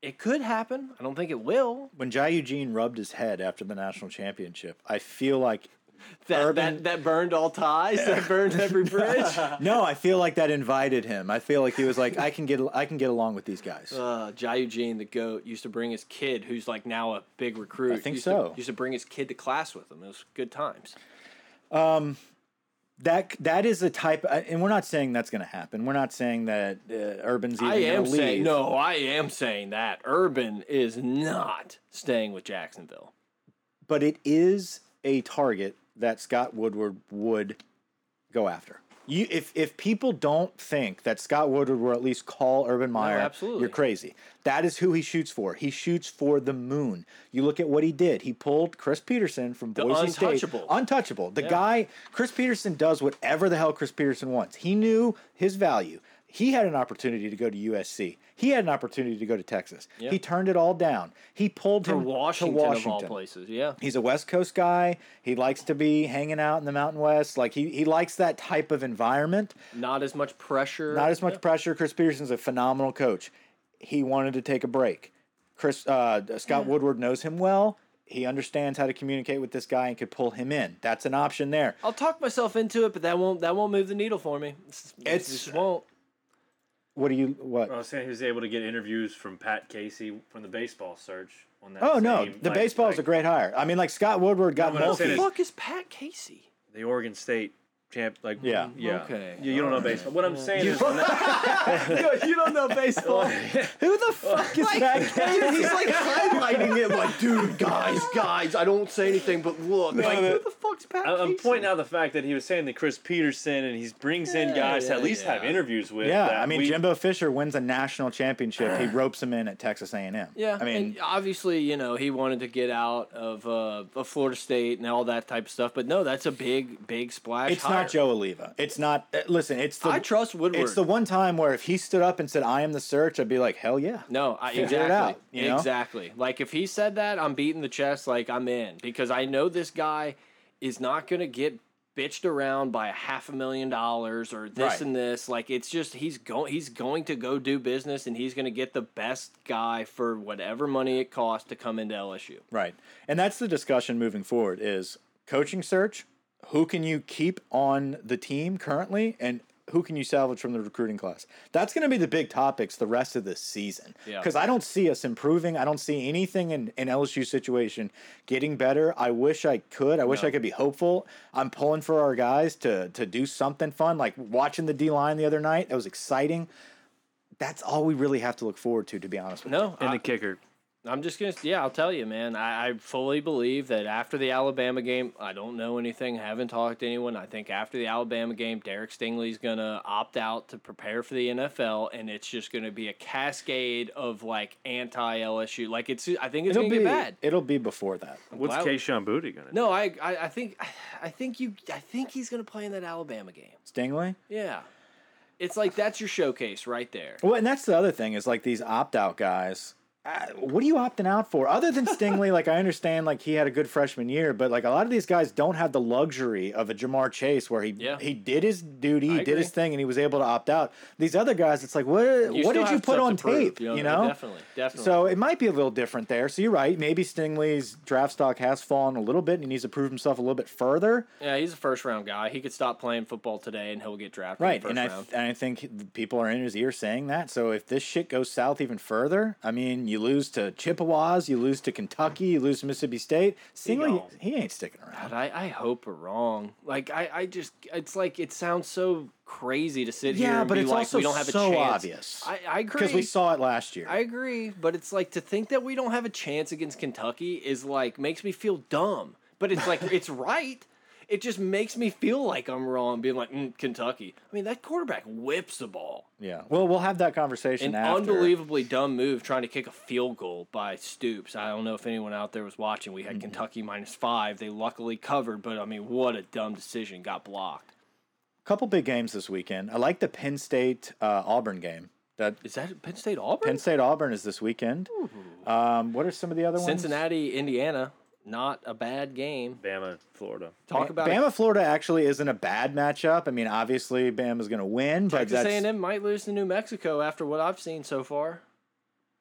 [SPEAKER 2] it could happen. I don't think it will.
[SPEAKER 1] When Jai Eugene rubbed his head after the national championship, I feel like
[SPEAKER 2] That
[SPEAKER 1] Urban-
[SPEAKER 2] that, that burned all ties. That burned every bridge.
[SPEAKER 1] no, I feel like that invited him. I feel like he was like, I can get, I can get along with these guys.
[SPEAKER 2] Uh, Jai Eugene, the goat, used to bring his kid, who's like now a big recruit.
[SPEAKER 1] I think
[SPEAKER 2] used
[SPEAKER 1] so.
[SPEAKER 2] To, used to bring his kid to class with him. It was good times.
[SPEAKER 1] That that is the type, and we're not saying that's going to happen. We're not saying that uh, Urban's even
[SPEAKER 2] I am
[SPEAKER 1] going to leave.
[SPEAKER 2] saying no. I am saying that Urban is not staying with Jacksonville.
[SPEAKER 1] but it is a target that Scott Woodward would go after. You, if if people don't think that Scott Woodward will at least call Urban Meyer,
[SPEAKER 2] absolutely.
[SPEAKER 1] you're crazy. That is who he shoots for. He shoots for the moon. You look at what he did. He pulled Chris Peterson from Boise
[SPEAKER 2] untouchable.
[SPEAKER 1] State. Untouchable. The guy Chris Peterson does whatever the hell Chris Peterson wants. He knew his value. He had an opportunity to go to USC. He had an opportunity to go to Texas. He turned it all down. He pulled
[SPEAKER 2] For
[SPEAKER 1] him
[SPEAKER 2] Washington,
[SPEAKER 1] to Washington
[SPEAKER 2] of all places, yeah.
[SPEAKER 1] he's a West Coast guy. He likes to be hanging out in the Mountain West. Like he he likes that type of environment.
[SPEAKER 2] Not as much pressure.
[SPEAKER 1] Not as much pressure. Chris Peterson's a phenomenal coach. He wanted to take a break. Chris uh, Scott Woodward knows him well. He understands how to communicate with this guy and could pull him in. That's an option there.
[SPEAKER 2] I'll talk myself into it, but that won't that won't move the needle for me. It's,
[SPEAKER 1] It's-
[SPEAKER 2] just won't.
[SPEAKER 1] What do you what?
[SPEAKER 3] I was saying he was able to get interviews from Pat Casey from the baseball search on that.
[SPEAKER 1] Oh no,
[SPEAKER 3] same,
[SPEAKER 1] the
[SPEAKER 3] like-
[SPEAKER 1] baseball is a
[SPEAKER 3] like
[SPEAKER 1] great hire. I mean, like Scott Woodward got
[SPEAKER 3] No, what I'm
[SPEAKER 1] Mulkey.
[SPEAKER 3] saying
[SPEAKER 2] The
[SPEAKER 3] is-
[SPEAKER 2] fuck is Pat Casey?
[SPEAKER 3] the Oregon State champ. Like
[SPEAKER 1] Yeah.
[SPEAKER 3] yeah.
[SPEAKER 2] Okay.
[SPEAKER 3] You, you don't know baseball. What I'm saying is when that-
[SPEAKER 2] you don't know baseball.
[SPEAKER 1] Who
[SPEAKER 3] Oh.
[SPEAKER 1] the fuck is that? guy?
[SPEAKER 2] He's like highlighting it, like, dude, guys, guys, I don't say anything, but look, like, who the fuck's Pat?
[SPEAKER 3] I- I'm
[SPEAKER 2] Casey?
[SPEAKER 3] pointing out the fact that he was saying that Chris Peterson and he brings in
[SPEAKER 2] Yeah,
[SPEAKER 3] guys to
[SPEAKER 2] yeah,
[SPEAKER 3] at least have
[SPEAKER 2] yeah.
[SPEAKER 3] interviews with.
[SPEAKER 1] Yeah,
[SPEAKER 3] that
[SPEAKER 1] I mean
[SPEAKER 3] we-
[SPEAKER 1] Jimbo Fisher wins a national championship. He ropes him in at Texas A&M.
[SPEAKER 2] Yeah,
[SPEAKER 1] I mean
[SPEAKER 2] and obviously, you know, he wanted to get out of uh, of Florida State and all that type of stuff, but no, that's a big, big splash.
[SPEAKER 1] It's
[SPEAKER 2] hire.
[SPEAKER 1] not Joe Oliva. It's not. uh, Listen, it's the.
[SPEAKER 2] I trust Woodward.
[SPEAKER 1] It's the one time where if he stood up and said, "I am the search," I'd be like, "Hell yeah!"
[SPEAKER 2] No, I,
[SPEAKER 1] Figure it
[SPEAKER 2] exactly.
[SPEAKER 1] out, you know?
[SPEAKER 2] Exactly. Like if he said that, I'm beating the chest. Like I'm in because I know this guy is not gonna get bitched around by a half a million dollars or this
[SPEAKER 1] Right.
[SPEAKER 2] and this. Like it's just he's going he's going to go do business and he's gonna get the best guy for whatever money it costs to come into LSU.
[SPEAKER 1] Right, and that's the discussion moving forward: is coaching search. Who can you keep on the team currently, and who can you salvage from the recruiting class? That's going to be the big topics the rest of this season.
[SPEAKER 2] Yeah.
[SPEAKER 1] Because I don't see us improving. I don't see anything in in LSU situation getting better. I wish I could. I wish I could be hopeful. I'm pulling for our guys to to do something fun, like watching the D line the other night. That was exciting. That's all we really have to look forward to, to be honest with you.
[SPEAKER 2] No,
[SPEAKER 3] and
[SPEAKER 2] I-
[SPEAKER 3] the kicker.
[SPEAKER 2] I'm just gonna yeah, I'll tell you, man. I, I fully believe that after the Alabama game, I don't know anything, haven't talked to anyone. I think after the Alabama game, Derek Stingley's gonna opt out to prepare for the NFL, and it's just gonna be a cascade of like anti LSU. Like it's, I think it's
[SPEAKER 1] It'll
[SPEAKER 2] gonna
[SPEAKER 1] be
[SPEAKER 2] be bad.
[SPEAKER 1] It'll be before that.
[SPEAKER 3] What's
[SPEAKER 2] Wow.
[SPEAKER 3] Kayshawn Booty gonna? do?
[SPEAKER 2] No, I, I, I think, I think you, I think he's gonna play in that Alabama game.
[SPEAKER 1] Stingley.
[SPEAKER 2] Yeah, it's like that's your showcase right there.
[SPEAKER 1] Well, and that's the other thing is like these opt out guys. Uh, what are you opting out for? Other than Stingley, like I understand, like he had a good freshman year, but like a lot of these guys don't have the luxury of a Jamar Chase where he
[SPEAKER 2] Yeah.
[SPEAKER 1] he did his duty, he did
[SPEAKER 2] agree.
[SPEAKER 1] his thing, and he was able to opt out. These other guys, it's like what what
[SPEAKER 2] still
[SPEAKER 1] did you
[SPEAKER 2] have
[SPEAKER 1] put
[SPEAKER 2] stuff
[SPEAKER 1] on
[SPEAKER 2] to prove,
[SPEAKER 1] tape? you know,
[SPEAKER 2] definitely, definitely.
[SPEAKER 1] So it might be a little different there. So you're right. Maybe Stingley's draft stock has fallen a little bit, and he needs to prove himself a little bit further.
[SPEAKER 2] Yeah, he's a first round guy. He could stop playing football today and he'll get drafted.
[SPEAKER 1] Right,
[SPEAKER 2] in
[SPEAKER 1] and
[SPEAKER 2] the
[SPEAKER 1] I
[SPEAKER 2] first round.
[SPEAKER 1] and I think the people are in his ear saying that. So if this shit goes south even further, I mean, you lose to Chippewas, you lose to Kentucky, you lose to Mississippi State. Singly,
[SPEAKER 3] gone.
[SPEAKER 1] he ain't sticking around.
[SPEAKER 2] But I, I hope we're wrong. Like I, I just it's like it sounds so crazy to sit here
[SPEAKER 1] Yeah,
[SPEAKER 2] and
[SPEAKER 1] but
[SPEAKER 2] be
[SPEAKER 1] it's
[SPEAKER 2] like
[SPEAKER 1] also
[SPEAKER 2] we don't have a
[SPEAKER 1] so
[SPEAKER 2] chance.
[SPEAKER 1] obvious.
[SPEAKER 2] I, I agree.
[SPEAKER 1] Because we saw it last year.
[SPEAKER 2] I agree, but it's like to think that we don't have a chance against Kentucky is like makes me feel dumb. But it's like it's right. it just makes me feel like I'm wrong being like, mm, Kentucky. I mean, that quarterback whips the ball.
[SPEAKER 1] Yeah. Well, we'll have that conversation
[SPEAKER 2] An
[SPEAKER 1] after.
[SPEAKER 2] unbelievably dumb move trying to kick a field goal by Stoops. I don't know if anyone out there was watching. We had Kentucky minus five. They luckily covered, but I mean, what a dumb decision. Got blocked.
[SPEAKER 1] Couple big games this weekend. I like the Penn State uh, Auburn game. That
[SPEAKER 2] Is that Penn State Auburn?
[SPEAKER 1] Penn State Auburn is this weekend. Um, what are some of the other ones?
[SPEAKER 2] Cincinnati, Indiana. Not a bad game.
[SPEAKER 3] Bama, Florida.
[SPEAKER 2] Talk about it.
[SPEAKER 1] Bama, Florida actually isn't a bad matchup. I mean, obviously Bama's going to win, but
[SPEAKER 2] Texas
[SPEAKER 1] that's
[SPEAKER 2] A&M might lose to New Mexico after what I've seen so far.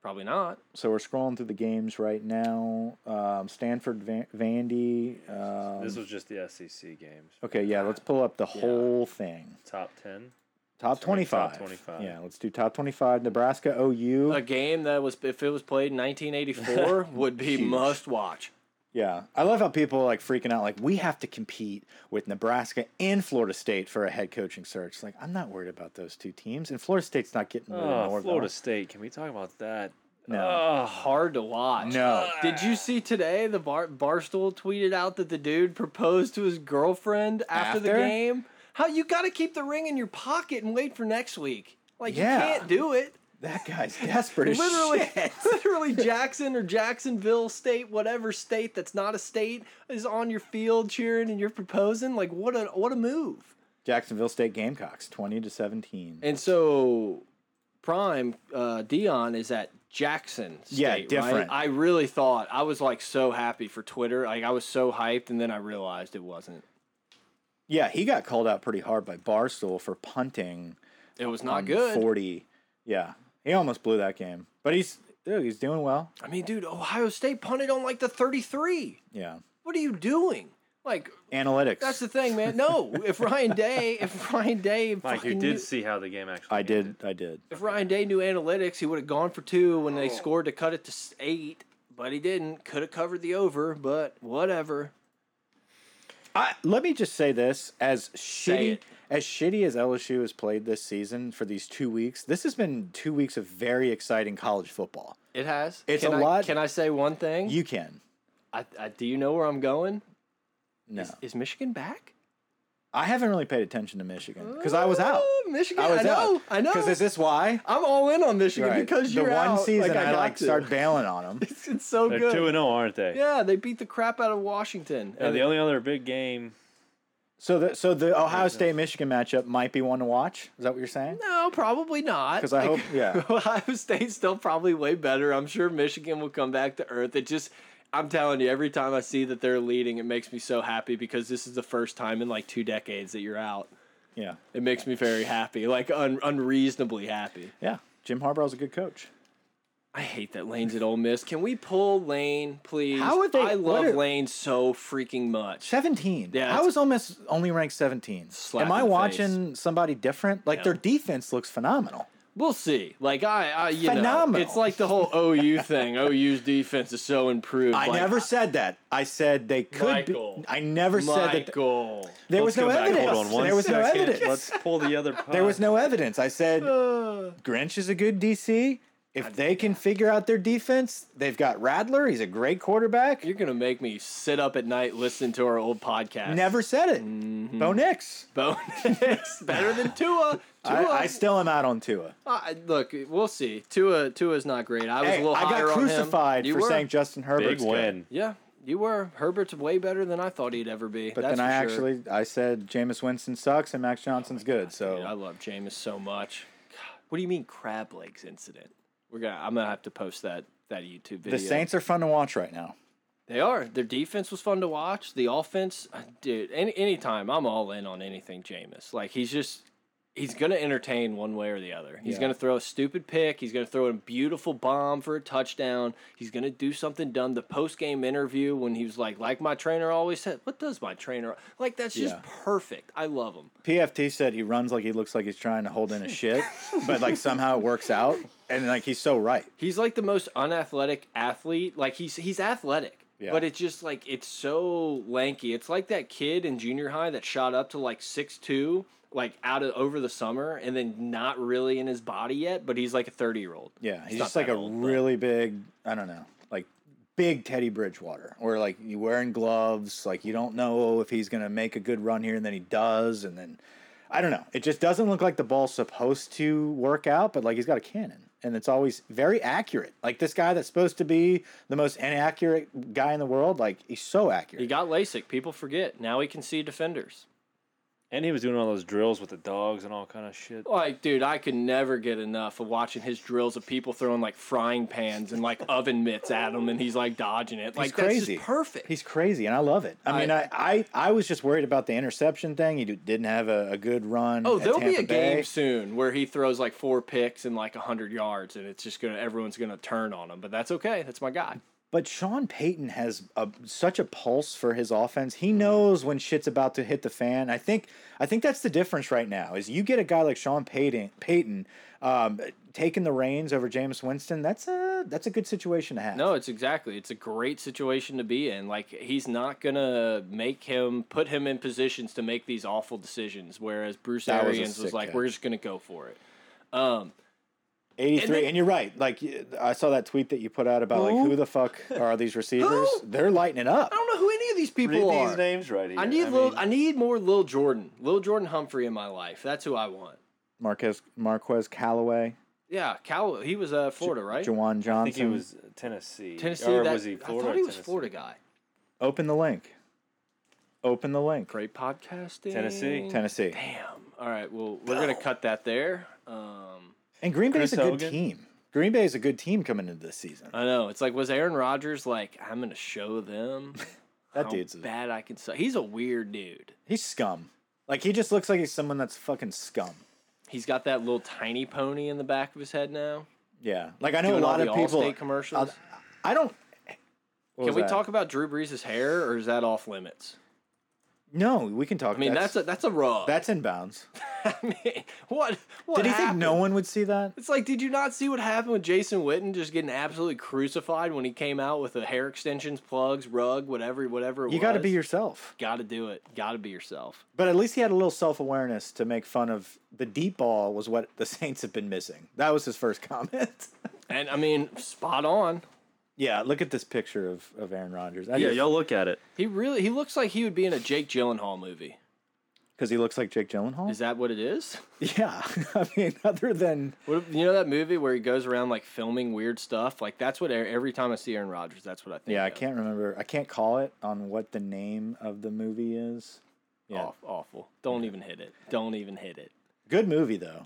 [SPEAKER 2] Probably not.
[SPEAKER 1] so we're scrolling through the games right now. Um, Stanford, Van- Vandy. Um,
[SPEAKER 3] this was just the SEC games.
[SPEAKER 1] okay, yeah, let's pull up the whole thing.
[SPEAKER 3] Top ten.
[SPEAKER 1] Top
[SPEAKER 3] Sorry,
[SPEAKER 1] twenty-five.
[SPEAKER 3] top 25.
[SPEAKER 1] Yeah, let's do top twenty-five. Nebraska, OU.
[SPEAKER 2] A game that was, if it was played in 1984, would be must watch.
[SPEAKER 1] Yeah, I love how people are like freaking out. Like we have to compete with Nebraska and Florida State for a head coaching search. Like I'm not worried about those two teams, and Florida State's not getting rid of
[SPEAKER 3] Oh,
[SPEAKER 1] Norvell.
[SPEAKER 3] Florida State. Can we talk about that?
[SPEAKER 1] No.
[SPEAKER 3] Oh,
[SPEAKER 2] Hard to watch.
[SPEAKER 1] No.
[SPEAKER 2] Did you see today the bar, Barstool tweeted out that the dude proposed to his girlfriend after, the
[SPEAKER 1] After?
[SPEAKER 2] game? How you got to keep the ring in your pocket and wait for next week? Like
[SPEAKER 1] Yeah.
[SPEAKER 2] you can't do it.
[SPEAKER 1] That guy's desperate as
[SPEAKER 2] literally,
[SPEAKER 1] shit.
[SPEAKER 2] literally Jackson or Jacksonville State, whatever state that's not a state, is on your field cheering and you're proposing. Like what a what a move!
[SPEAKER 1] Jacksonville State Gamecocks, twenty to seventeen.
[SPEAKER 2] And so, Prime uh, Dion is at Jackson. State,
[SPEAKER 1] Yeah,
[SPEAKER 2] right?
[SPEAKER 1] different.
[SPEAKER 2] I really thought I was like so happy for Twitter. Like I was so hyped, and then I realized it wasn't.
[SPEAKER 1] yeah, he got called out pretty hard by Barstool for punting
[SPEAKER 2] It was
[SPEAKER 1] on
[SPEAKER 2] not good.
[SPEAKER 1] forty. Yeah, he almost blew that game, but he's dude, he's doing well.
[SPEAKER 2] I mean, dude, Ohio State punted on like the 33.
[SPEAKER 1] Yeah,
[SPEAKER 2] What are you doing? Like
[SPEAKER 1] analytics.
[SPEAKER 2] that's the thing, man. No, if Ryan Day, if Ryan Day,
[SPEAKER 3] Mike, you
[SPEAKER 2] fucking
[SPEAKER 3] did
[SPEAKER 2] knew-
[SPEAKER 3] see how the game actually.
[SPEAKER 1] I
[SPEAKER 3] ended.
[SPEAKER 1] did. I did.
[SPEAKER 2] If Ryan Day knew analytics, he would have gone for two when
[SPEAKER 3] Oh.
[SPEAKER 2] they scored to cut it to s- eight, but he didn't. Could have covered the over, but whatever.
[SPEAKER 1] I, let me just say this: as shitty
[SPEAKER 2] it.
[SPEAKER 1] as shitty as LSU has played this season for these two weeks, this has been two weeks of very exciting college football.
[SPEAKER 2] It has.
[SPEAKER 1] It's
[SPEAKER 2] can
[SPEAKER 1] a
[SPEAKER 2] I-
[SPEAKER 1] lot-
[SPEAKER 2] Can I say one thing?
[SPEAKER 1] You can
[SPEAKER 2] I, I, do you know where I'm going?
[SPEAKER 1] no,
[SPEAKER 2] Is Michigan back?
[SPEAKER 1] I haven't really paid attention to Michigan because I was out.
[SPEAKER 2] Uh, Michigan.
[SPEAKER 1] I was
[SPEAKER 2] know.
[SPEAKER 1] out.
[SPEAKER 2] I know.
[SPEAKER 1] Because is this why?
[SPEAKER 2] I'm all in on Michigan
[SPEAKER 1] Right.
[SPEAKER 2] because you're
[SPEAKER 1] the one
[SPEAKER 2] out.
[SPEAKER 1] season
[SPEAKER 2] like, I,
[SPEAKER 1] I,
[SPEAKER 2] got
[SPEAKER 1] like
[SPEAKER 2] to.
[SPEAKER 1] start bailing on them.
[SPEAKER 2] It's, it's so
[SPEAKER 3] They're
[SPEAKER 2] good.
[SPEAKER 3] two and zero, aren't they?
[SPEAKER 2] yeah, they beat the crap out of Washington.
[SPEAKER 3] Now,
[SPEAKER 2] And
[SPEAKER 3] the only other big game.
[SPEAKER 1] So the so the Ohio State Michigan matchup might be one to watch. Is that what you're saying?
[SPEAKER 2] No, probably not.
[SPEAKER 1] 'Cause I hope- yeah.
[SPEAKER 2] Ohio State's still probably way better. I'm sure Michigan will come back to earth. It just, I'm telling you, every time I see that they're leading, it makes me so happy because this is the first time in like two decades that you're out.
[SPEAKER 1] Yeah,
[SPEAKER 2] It makes me very happy, like un- unreasonably happy.
[SPEAKER 1] yeah. Jim Harbaugh's a good coach.
[SPEAKER 2] I hate that Lane's at Ole Miss. Can we pull Lane, please?
[SPEAKER 1] How would they-
[SPEAKER 2] I
[SPEAKER 1] what
[SPEAKER 2] love
[SPEAKER 1] are-
[SPEAKER 2] Lane so freaking much.
[SPEAKER 1] Seventeen.
[SPEAKER 2] Yeah,
[SPEAKER 1] How
[SPEAKER 2] it's-
[SPEAKER 1] is Ole Miss only ranked seventeen?
[SPEAKER 2] Slap
[SPEAKER 1] Am I
[SPEAKER 2] in the
[SPEAKER 1] watching somebody different? Like their defense looks phenomenal.
[SPEAKER 2] We'll see. Like I, I you know,
[SPEAKER 1] Phenomenal.
[SPEAKER 2] it's like the whole OU thing. OU's defense is so improved.
[SPEAKER 1] I
[SPEAKER 2] Like,
[SPEAKER 1] never said that. I said they could
[SPEAKER 2] Michael.
[SPEAKER 1] be. I never said that.
[SPEAKER 2] Michael.
[SPEAKER 1] There was
[SPEAKER 3] Let's
[SPEAKER 1] no
[SPEAKER 3] go back.
[SPEAKER 1] evidence.
[SPEAKER 3] Hold on one
[SPEAKER 1] there was no
[SPEAKER 3] second.
[SPEAKER 1] evidence.
[SPEAKER 3] Let's pull the other. Pod.
[SPEAKER 1] There was no evidence. I said
[SPEAKER 2] Uh.
[SPEAKER 1] Grinch is a good DC. If they can figure out their defense, they've got Radler. He's a great quarterback.
[SPEAKER 2] You're gonna make me sit up at night listening to our old podcast.
[SPEAKER 1] Never said it.
[SPEAKER 2] Mm-hmm.
[SPEAKER 1] Bo Nix.
[SPEAKER 2] bonus better than Tua. Tua.
[SPEAKER 1] I, I still am out on Tua.
[SPEAKER 2] I- look, we'll see. Tua, Tua's not great. I was
[SPEAKER 1] Hey,
[SPEAKER 2] a little
[SPEAKER 1] I
[SPEAKER 2] higher
[SPEAKER 1] got
[SPEAKER 2] on him.
[SPEAKER 1] crucified
[SPEAKER 2] You
[SPEAKER 1] for
[SPEAKER 2] were.
[SPEAKER 1] saying Justin Herbert.
[SPEAKER 3] big win.
[SPEAKER 2] Yeah, you were. Herbert's way better than I thought he'd ever be.
[SPEAKER 1] But
[SPEAKER 2] That's
[SPEAKER 1] then I
[SPEAKER 2] for sure.
[SPEAKER 1] actually I said Jameis Winston sucks and Max Johnson's good. So
[SPEAKER 2] Oh Dude, I love Jameis so much. God, what do you mean crab legs incident? We're gonna. I'm gonna have to post that that YouTube video.
[SPEAKER 1] the Saints are fun to watch right now.
[SPEAKER 2] They are. Their defense was fun to watch. The offense, uh, dude, any anytime I'm all in on anything Jameis. Like he's just he's gonna entertain one way or the other. He's gonna throw a stupid pick, he's gonna throw a beautiful bomb for a touchdown, he's gonna do something dumb. The post game interview when he was like, like my trainer always said, What does my trainer like that's just
[SPEAKER 1] Yeah.
[SPEAKER 2] perfect. I love him.
[SPEAKER 1] PFT said he runs like he looks like he's trying to hold in a shit, but like somehow it works out, and like he's so right.
[SPEAKER 2] He's like the most unathletic athlete. Like he's he's athletic,
[SPEAKER 1] Yeah.
[SPEAKER 2] but it's just like it's so lanky. It's like that kid in junior high that shot up to like six two, like out of over the summer, and then not really in his body yet. But he's like a thirty year old.
[SPEAKER 1] Yeah, he's
[SPEAKER 2] not
[SPEAKER 1] just like
[SPEAKER 2] that
[SPEAKER 1] a
[SPEAKER 2] old, but-
[SPEAKER 1] really big. I don't know, like big Teddy Bridgewater, where like you wearing gloves, like you don't know if he's gonna make a good run here, and then he does, and then I don't know. It just doesn't look like the ball's supposed to work out, but like he's got a cannon, and it's always very accurate. Like this guy that's supposed to be the most inaccurate guy in the world, like he's so accurate.
[SPEAKER 2] He got LASIK. People forget. Now he can see defenders.
[SPEAKER 3] And he was doing all those drills with the dogs and all kind of shit.
[SPEAKER 2] Like, dude, I could never get enough of watching his drills of people throwing like frying pans and like oven mitts at him, and he's like dodging it. Like,
[SPEAKER 1] He's crazy.
[SPEAKER 2] that's just perfect.
[SPEAKER 1] He's crazy, and I love it. I,
[SPEAKER 2] I-
[SPEAKER 1] mean, I, I I was just worried about the interception thing. He d- didn't have a, a good run.
[SPEAKER 2] oh,
[SPEAKER 1] at
[SPEAKER 2] there'll be
[SPEAKER 1] Tampa
[SPEAKER 2] a
[SPEAKER 1] Bay.
[SPEAKER 2] game soon where he throws like four picks and like hundred yards, and it's just gonna everyone's gonna turn on him. But that's okay. That's my guy.
[SPEAKER 1] But Sean Payton has a, such a pulse for his offense. He knows when shit's about to hit the fan. I think I think that's the difference right now. Is you get a guy like Sean Payton, Payton um, taking the reins over Jameis Winston. That's a that's a good situation to have.
[SPEAKER 2] No, it's exactly. It's a great situation to be in. Like he's not gonna make him put him in positions to make these awful decisions. Whereas Bruce
[SPEAKER 1] That was a
[SPEAKER 2] Arians was,
[SPEAKER 1] sick
[SPEAKER 2] like,
[SPEAKER 1] catch.
[SPEAKER 2] "We're just gonna go for it." Um,
[SPEAKER 1] eighty
[SPEAKER 2] and
[SPEAKER 1] three,
[SPEAKER 2] then-
[SPEAKER 1] and you're right. Like y- I saw that tweet that you put out about like
[SPEAKER 2] Who?
[SPEAKER 1] who the fuck are these receivers?
[SPEAKER 2] Who?
[SPEAKER 1] They're lighting it up.
[SPEAKER 2] I don't know who any of these people
[SPEAKER 4] Read
[SPEAKER 2] are.
[SPEAKER 4] these names right here.
[SPEAKER 2] I need
[SPEAKER 4] mean,
[SPEAKER 2] Lil, I need more Lil Jordan, Lil Jordan Humphrey in my life. That's who I want.
[SPEAKER 1] Marquez Marquez Callaway,
[SPEAKER 2] Yeah, Cal. He was uh, Florida, right?
[SPEAKER 1] Jawan Johnson.
[SPEAKER 3] I think he was Tennessee.
[SPEAKER 2] Tennessee.
[SPEAKER 3] Or
[SPEAKER 2] that-
[SPEAKER 3] was he
[SPEAKER 2] I
[SPEAKER 3] Florida?
[SPEAKER 2] thought he
[SPEAKER 3] or
[SPEAKER 2] was
[SPEAKER 3] Tennessee?
[SPEAKER 2] Florida guy.
[SPEAKER 1] Open the link. Open the link.
[SPEAKER 2] Great podcasting.
[SPEAKER 3] Tennessee.
[SPEAKER 1] Tennessee.
[SPEAKER 2] Damn. All right. Well, we're gonna cut that there. Um,
[SPEAKER 1] And Green Bay's
[SPEAKER 3] Chris
[SPEAKER 1] a good
[SPEAKER 3] Hogan.
[SPEAKER 1] team. Green Bay is a good team coming into this season.
[SPEAKER 2] I know. It's like was Aaron Rodgers like I'm gonna show them
[SPEAKER 1] That
[SPEAKER 2] how
[SPEAKER 1] dude's a,
[SPEAKER 2] bad I can. Suck. He's a weird dude.
[SPEAKER 1] he's scum. Like he just looks like he's someone that's fucking scum.
[SPEAKER 2] He's got that little tiny pony in the back of his head now.
[SPEAKER 1] Yeah. Like I know
[SPEAKER 2] Doing
[SPEAKER 1] a
[SPEAKER 2] all
[SPEAKER 1] lot
[SPEAKER 2] the
[SPEAKER 1] of people.
[SPEAKER 2] Allstate commercials.
[SPEAKER 1] I'll- I don't. what
[SPEAKER 2] Can
[SPEAKER 1] was
[SPEAKER 2] we
[SPEAKER 1] that?
[SPEAKER 2] talk about Drew Brees' hair, or is that off limits?
[SPEAKER 1] No, we can talk.
[SPEAKER 2] I mean, that's,
[SPEAKER 1] that's
[SPEAKER 2] a that's a rub.
[SPEAKER 1] that's in bounds.
[SPEAKER 2] I mean, what? What
[SPEAKER 1] Did he think
[SPEAKER 2] happened?
[SPEAKER 1] no one would see that?
[SPEAKER 2] It's like, did you not see what happened with Jason Witten just getting absolutely crucified when he came out with the hair extensions, plugs, rug, whatever, whatever. It
[SPEAKER 1] You got to be yourself.
[SPEAKER 2] Got to do it. Got to be yourself.
[SPEAKER 1] But at least he had a little self awareness to make fun of. The deep ball was what the Saints have been missing. That was his first comment.
[SPEAKER 2] And I mean, spot on.
[SPEAKER 1] yeah, look at this picture of, of Aaron Rodgers. I
[SPEAKER 3] Yeah,
[SPEAKER 1] yeah,
[SPEAKER 3] y'all look at it.
[SPEAKER 2] He really he looks like he would be in a Jake Gyllenhaal movie.
[SPEAKER 1] because he looks like Jake Gyllenhaal.
[SPEAKER 2] Is that what it is?
[SPEAKER 1] Yeah, I mean, other than
[SPEAKER 2] What if- you know that movie where he goes around like filming weird stuff? Like that's what Aaron- every time I see Aaron Rodgers, that's what I think.
[SPEAKER 1] yeah, I
[SPEAKER 2] of.
[SPEAKER 1] can't remember. I can't call it on what the name of the movie is. Yeah,
[SPEAKER 2] Aw- awful. Don't even hit it. Don't even hit it.
[SPEAKER 1] good movie though.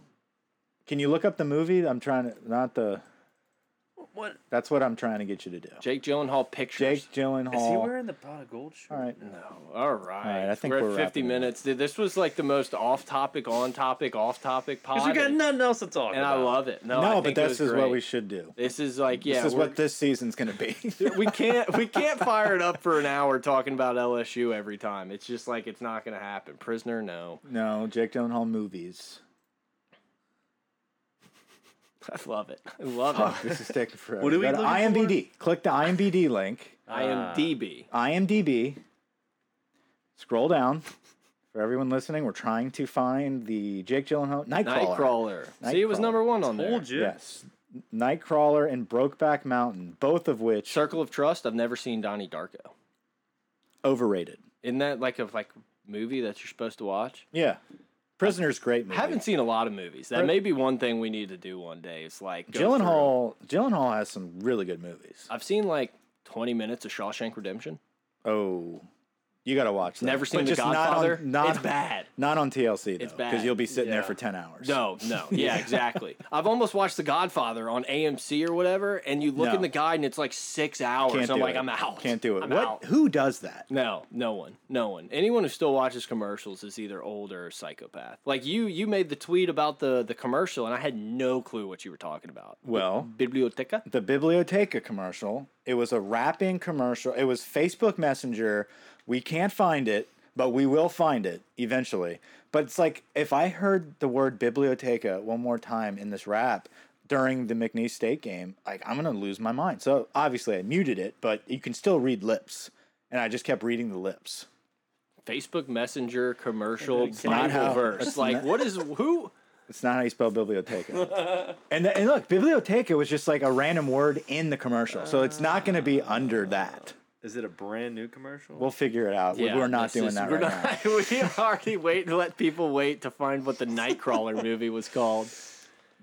[SPEAKER 1] Can you look up the movie? I'm trying to not the.
[SPEAKER 3] What?
[SPEAKER 1] That's what I'm trying to get you to do.
[SPEAKER 2] Jake Gyllenhaal pictures.
[SPEAKER 1] Jake Gyllenhaal.
[SPEAKER 3] Is he wearing the pot of gold shirt?
[SPEAKER 1] All right.
[SPEAKER 2] All right.
[SPEAKER 1] right, I think
[SPEAKER 2] we're,
[SPEAKER 1] we're
[SPEAKER 2] at 50
[SPEAKER 1] wrapping it up.
[SPEAKER 2] minutes. Dude, this was like the most off topic, on topic, off topic pod.
[SPEAKER 3] Because we got
[SPEAKER 2] and,
[SPEAKER 3] nothing else to talk
[SPEAKER 2] and I
[SPEAKER 3] about.
[SPEAKER 2] love it. No, I
[SPEAKER 1] no,
[SPEAKER 2] think
[SPEAKER 1] but
[SPEAKER 2] it
[SPEAKER 1] this
[SPEAKER 2] was
[SPEAKER 1] is
[SPEAKER 2] great.
[SPEAKER 1] what we should do.
[SPEAKER 2] This is like, yeah.
[SPEAKER 1] this is
[SPEAKER 2] we're-
[SPEAKER 1] what this season's gonna be.
[SPEAKER 2] we can't we can't fire it up for an hour talking about LSU every time. It's just like it's not gonna happen. Prisoner, no.
[SPEAKER 1] no, Jake Gyllenhaal movies.
[SPEAKER 2] I love it. I love
[SPEAKER 1] Oh,
[SPEAKER 2] it.
[SPEAKER 1] this is taking forever.
[SPEAKER 3] What are we
[SPEAKER 1] Go to
[SPEAKER 3] looking for?
[SPEAKER 1] IMDb. Click the IMDb link.
[SPEAKER 2] I
[SPEAKER 3] Ah,
[SPEAKER 2] am DB.
[SPEAKER 1] IMDb. Scroll down. For everyone listening, we're trying to find the Jake Gyllenhaal Nightcrawler.
[SPEAKER 2] Nightcrawler. See, it was
[SPEAKER 1] Nightcrawler.
[SPEAKER 2] number one on there.
[SPEAKER 3] Told you.
[SPEAKER 1] Yes, Nightcrawler and Brokeback Mountain, both of which
[SPEAKER 2] Circle of Trust. I've never seen Donnie Darko.
[SPEAKER 1] overrated.
[SPEAKER 2] Isn't that like a like movie that you're supposed to watch?
[SPEAKER 1] Yeah, Prisoner's great movie.
[SPEAKER 2] Haven't seen a lot of movies. That may be one thing we need to do one day. It's like go through.
[SPEAKER 1] Gyllenhaal. Gyllenhaal has some really good movies.
[SPEAKER 2] I've seen like 20 minutes of Shawshank Redemption.
[SPEAKER 1] Oh, you gotta watch. That.
[SPEAKER 2] Never seen
[SPEAKER 1] But
[SPEAKER 2] The
[SPEAKER 1] just Not
[SPEAKER 2] Godfather.
[SPEAKER 1] on, not,
[SPEAKER 2] it's bad.
[SPEAKER 1] Not on TLC though,
[SPEAKER 2] It's
[SPEAKER 1] because
[SPEAKER 2] bad.
[SPEAKER 1] you'll be sitting there
[SPEAKER 3] Yeah.
[SPEAKER 1] for ten hours.
[SPEAKER 2] No, no. Yeah, exactly. I've almost watched The Godfather on AMC or whatever, and you look
[SPEAKER 1] No.
[SPEAKER 2] in the guide and it's like six hours.
[SPEAKER 1] can't
[SPEAKER 2] I'm
[SPEAKER 1] do
[SPEAKER 2] like,
[SPEAKER 1] it.
[SPEAKER 2] I'm out.
[SPEAKER 1] Can't do it.
[SPEAKER 2] I'm
[SPEAKER 1] what?
[SPEAKER 2] out.
[SPEAKER 1] Who does that?
[SPEAKER 2] No, no one, no one. Anyone who still watches commercials is either old or a psychopath. Like you, you made the tweet about the the commercial, and I had no clue what you were talking about.
[SPEAKER 1] Well,
[SPEAKER 2] Biblioteca.
[SPEAKER 1] the Biblioteca commercial. It was a rapping commercial. It was Facebook Messenger. We can't find it, but we will find it eventually. But it's like if I heard the word Biblioteca one more time in this rap during the McNeese State game, like I'm gonna lose my mind. So obviously I muted it, but you can still read lips, and I just kept reading the lips.
[SPEAKER 2] Facebook Messenger commercial
[SPEAKER 1] not
[SPEAKER 2] Bible
[SPEAKER 1] how-
[SPEAKER 2] verse.
[SPEAKER 1] that's
[SPEAKER 2] Like,
[SPEAKER 1] not-
[SPEAKER 2] what is who?
[SPEAKER 1] It's not how you spell biblioteca. and, th- and look, biblioteca was just like a random word in the commercial, so it's not going to be under that.
[SPEAKER 3] Is it a brand new commercial?
[SPEAKER 1] We'll figure it out. We- we're not
[SPEAKER 2] this
[SPEAKER 1] doing
[SPEAKER 2] is-
[SPEAKER 1] that
[SPEAKER 2] we're
[SPEAKER 1] right now.
[SPEAKER 2] not- we already wait to let people wait to find what the Nightcrawler movie was called.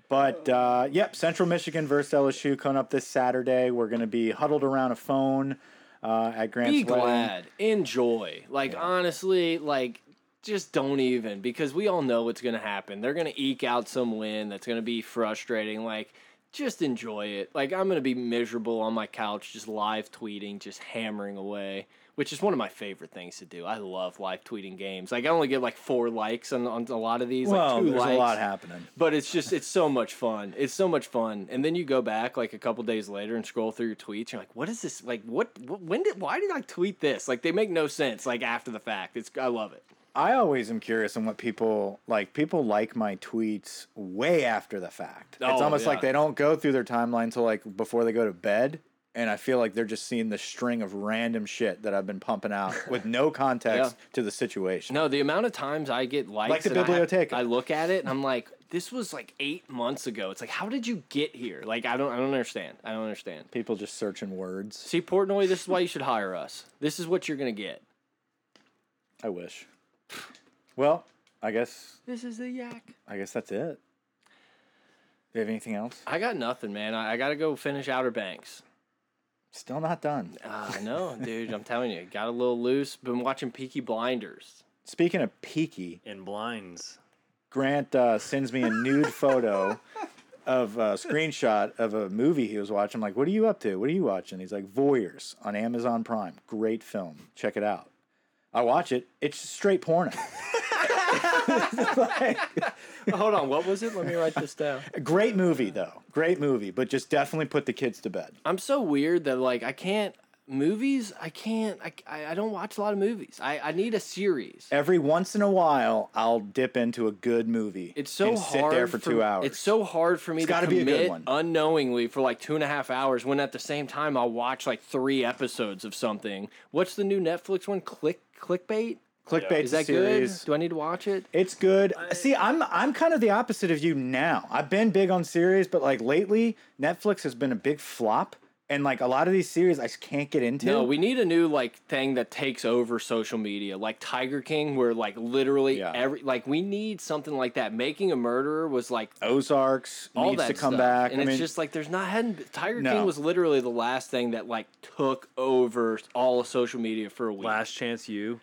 [SPEAKER 1] But uh, yep, Central Michigan versus LSU coming up this Saturday. We're going to be huddled around a phone uh, at Grant's
[SPEAKER 2] Be
[SPEAKER 1] wedding.
[SPEAKER 2] glad, enjoy. Like honestly, like just don't even because we all know what's gonna happen. They're gonna eke out some win that's gonna be frustrating. Like just enjoy it. Like I'm gonna be miserable on my couch, just live tweeting, just hammering away. Which is one of my favorite things to do. I love live tweeting games. Like I only get like four likes on, on a lot of these.
[SPEAKER 1] Well,
[SPEAKER 2] like two
[SPEAKER 1] there's
[SPEAKER 2] likes.
[SPEAKER 1] a lot happening.
[SPEAKER 2] But it's just it's so much fun. It's so much fun. And then you go back like a couple days later and scroll through your tweets. You're like, what is this? Like, what? what when did? Why did I tweet this? Like, they make no sense. Like after the fact, it's I love it.
[SPEAKER 1] I always am curious on what people like. People like my tweets way after the fact. it's
[SPEAKER 2] Oh,
[SPEAKER 1] almost
[SPEAKER 2] yeah.
[SPEAKER 1] like they don't go through their timeline till like before they go to bed. And I feel like they're just seeing the string of random shit that I've been pumping out with no context to the situation.
[SPEAKER 2] No, the amount of times I get likes,
[SPEAKER 1] Like the
[SPEAKER 2] and I have-
[SPEAKER 1] Biblioteca.
[SPEAKER 2] I, look at it and I'm like, this was like eight months ago. It's like, how did you get here? Like, I don't, I don't understand. I don't understand.
[SPEAKER 1] People just searching words.
[SPEAKER 2] See, Portnoy, this is why you should hire us. This is what you're gonna get.
[SPEAKER 1] I wish. Well, I guess
[SPEAKER 2] This is the yak.
[SPEAKER 1] I guess that's it. Do you have anything else?
[SPEAKER 2] I got nothing, man. I, I gotta go finish Outer Banks.
[SPEAKER 1] Still not done.
[SPEAKER 2] I know, dude. I'm telling you, it got a little loose. Been watching Peaky Blinders.
[SPEAKER 1] Speaking of Peaky,
[SPEAKER 3] in blinds.
[SPEAKER 1] Grant uh, sends me a nude photo of a screenshot of a movie he was watching. I'm like, what are you up to? What are you watching? He's like, Voyeurs on Amazon Prime. Great film. Check it out. I watch it. It's straight porno.
[SPEAKER 2] Hold on, what was it? Let me write this down.
[SPEAKER 1] Great movie, though. Great movie, but just definitely put the kids to bed.
[SPEAKER 2] I'm so weird that like I can't movies. I can't. I I, I don't watch a lot of movies. I I need a series.
[SPEAKER 1] Every once in a while, I'll dip into a good movie.
[SPEAKER 2] It's so
[SPEAKER 1] and
[SPEAKER 2] hard.
[SPEAKER 1] sit there for two hours.
[SPEAKER 2] It's so hard for me to
[SPEAKER 1] gotta
[SPEAKER 2] commit
[SPEAKER 1] be a good one.
[SPEAKER 2] unknowingly for like two and a half hours when at the same time I'll watch like three episodes of something. What's the new Netflix one? Click clickbait.
[SPEAKER 1] clickbait
[SPEAKER 2] Is that
[SPEAKER 1] series.
[SPEAKER 2] good? Do I need to watch it?
[SPEAKER 1] It's good. See, I'm I'm kind of the opposite of you now. I've been big on series, but like lately, Netflix has been a big flop, and like a lot of these series, I just can't get into.
[SPEAKER 2] No, we need a new like thing that takes over social media, like Tiger King, where like literally
[SPEAKER 1] Yeah.
[SPEAKER 2] every like we need something like that. Making a murderer was like
[SPEAKER 1] Ozarks
[SPEAKER 2] all
[SPEAKER 1] needs
[SPEAKER 2] that
[SPEAKER 1] to come
[SPEAKER 2] stuff.
[SPEAKER 1] back,
[SPEAKER 2] and
[SPEAKER 1] I
[SPEAKER 2] it's
[SPEAKER 1] mean,
[SPEAKER 2] just like there's not hadn't Tiger King
[SPEAKER 1] No.
[SPEAKER 2] was literally the last thing that like took over all of social media for a week.
[SPEAKER 3] Last chance you.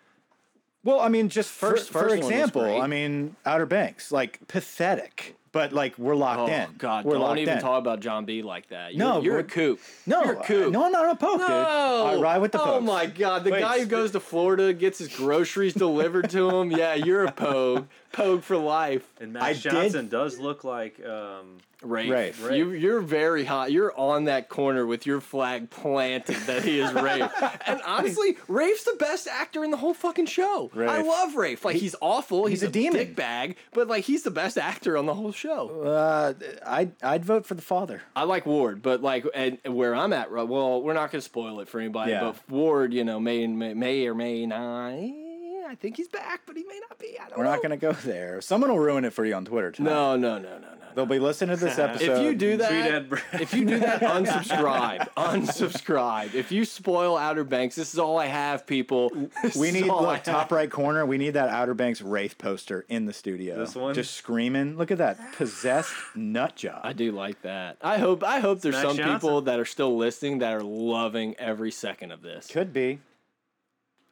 [SPEAKER 1] well, I mean, just first
[SPEAKER 2] First-
[SPEAKER 1] for,
[SPEAKER 2] first one was
[SPEAKER 1] example,
[SPEAKER 2] great.
[SPEAKER 1] I mean, Outer Banks, like pathetic, but like we're
[SPEAKER 2] oh
[SPEAKER 1] locked in.
[SPEAKER 2] God,
[SPEAKER 1] we're
[SPEAKER 2] don't
[SPEAKER 1] locked
[SPEAKER 2] even
[SPEAKER 1] in.
[SPEAKER 2] talk about John B like that. You're,
[SPEAKER 1] No,
[SPEAKER 2] you're a
[SPEAKER 1] we're-
[SPEAKER 2] kook.
[SPEAKER 1] No,
[SPEAKER 2] you're a kook.
[SPEAKER 1] uh, no, I'm not a pope, dude. I ride with the
[SPEAKER 2] oh
[SPEAKER 1] pope.
[SPEAKER 2] my God! The
[SPEAKER 3] Wait,
[SPEAKER 2] guy who
[SPEAKER 3] s-
[SPEAKER 2] goes to Florida gets his groceries delivered to him. Yeah, you're a pogue, pogue for life.
[SPEAKER 3] And
[SPEAKER 1] I
[SPEAKER 3] Matt
[SPEAKER 1] did-
[SPEAKER 3] Johnson does look like um,
[SPEAKER 2] Rafe,
[SPEAKER 1] Rafe.
[SPEAKER 2] You, you're very hot. You're on that corner with your flag planted that he is Rafe. and honestly, Rafe's the best actor in the whole fucking show. I
[SPEAKER 1] Rafe.
[SPEAKER 2] love Rafe. Like he's awful. He's,
[SPEAKER 1] a demon.
[SPEAKER 2] dickbag, but like he's the best actor on the whole show.
[SPEAKER 1] Uh, I'd I'd vote for the father.
[SPEAKER 2] I like Ward, but like and and where I'm at, right- well, we're not gonna spoil it for anybody.
[SPEAKER 1] Yeah.
[SPEAKER 2] But Ward, you know, may, may may or may not. eh, I think he's back, but he may not be. I don't
[SPEAKER 1] We're
[SPEAKER 2] know.
[SPEAKER 1] not gonna go there. Someone will ruin it for you on Twitter tonight.
[SPEAKER 2] No, no, no, no, no.
[SPEAKER 1] They'll be listening to this episode.
[SPEAKER 2] If you do
[SPEAKER 3] Sweet
[SPEAKER 2] that,
[SPEAKER 3] Ed Brad.
[SPEAKER 2] if you do that, unsubscribe, unsubscribe. If you spoil Outer Banks, this is all I have, people. This
[SPEAKER 1] We
[SPEAKER 2] is
[SPEAKER 1] need
[SPEAKER 2] all I
[SPEAKER 1] look, top
[SPEAKER 2] have.
[SPEAKER 1] right corner. We need that Outer Banks Wraith poster in the studio.
[SPEAKER 3] This one?
[SPEAKER 1] just screaming. Look at that possessed nut job.
[SPEAKER 2] I do like that. I hope. I hope there's
[SPEAKER 3] Max
[SPEAKER 2] some
[SPEAKER 3] Johnson.
[SPEAKER 2] people that are still listening that are loving every second of this.
[SPEAKER 1] Could be.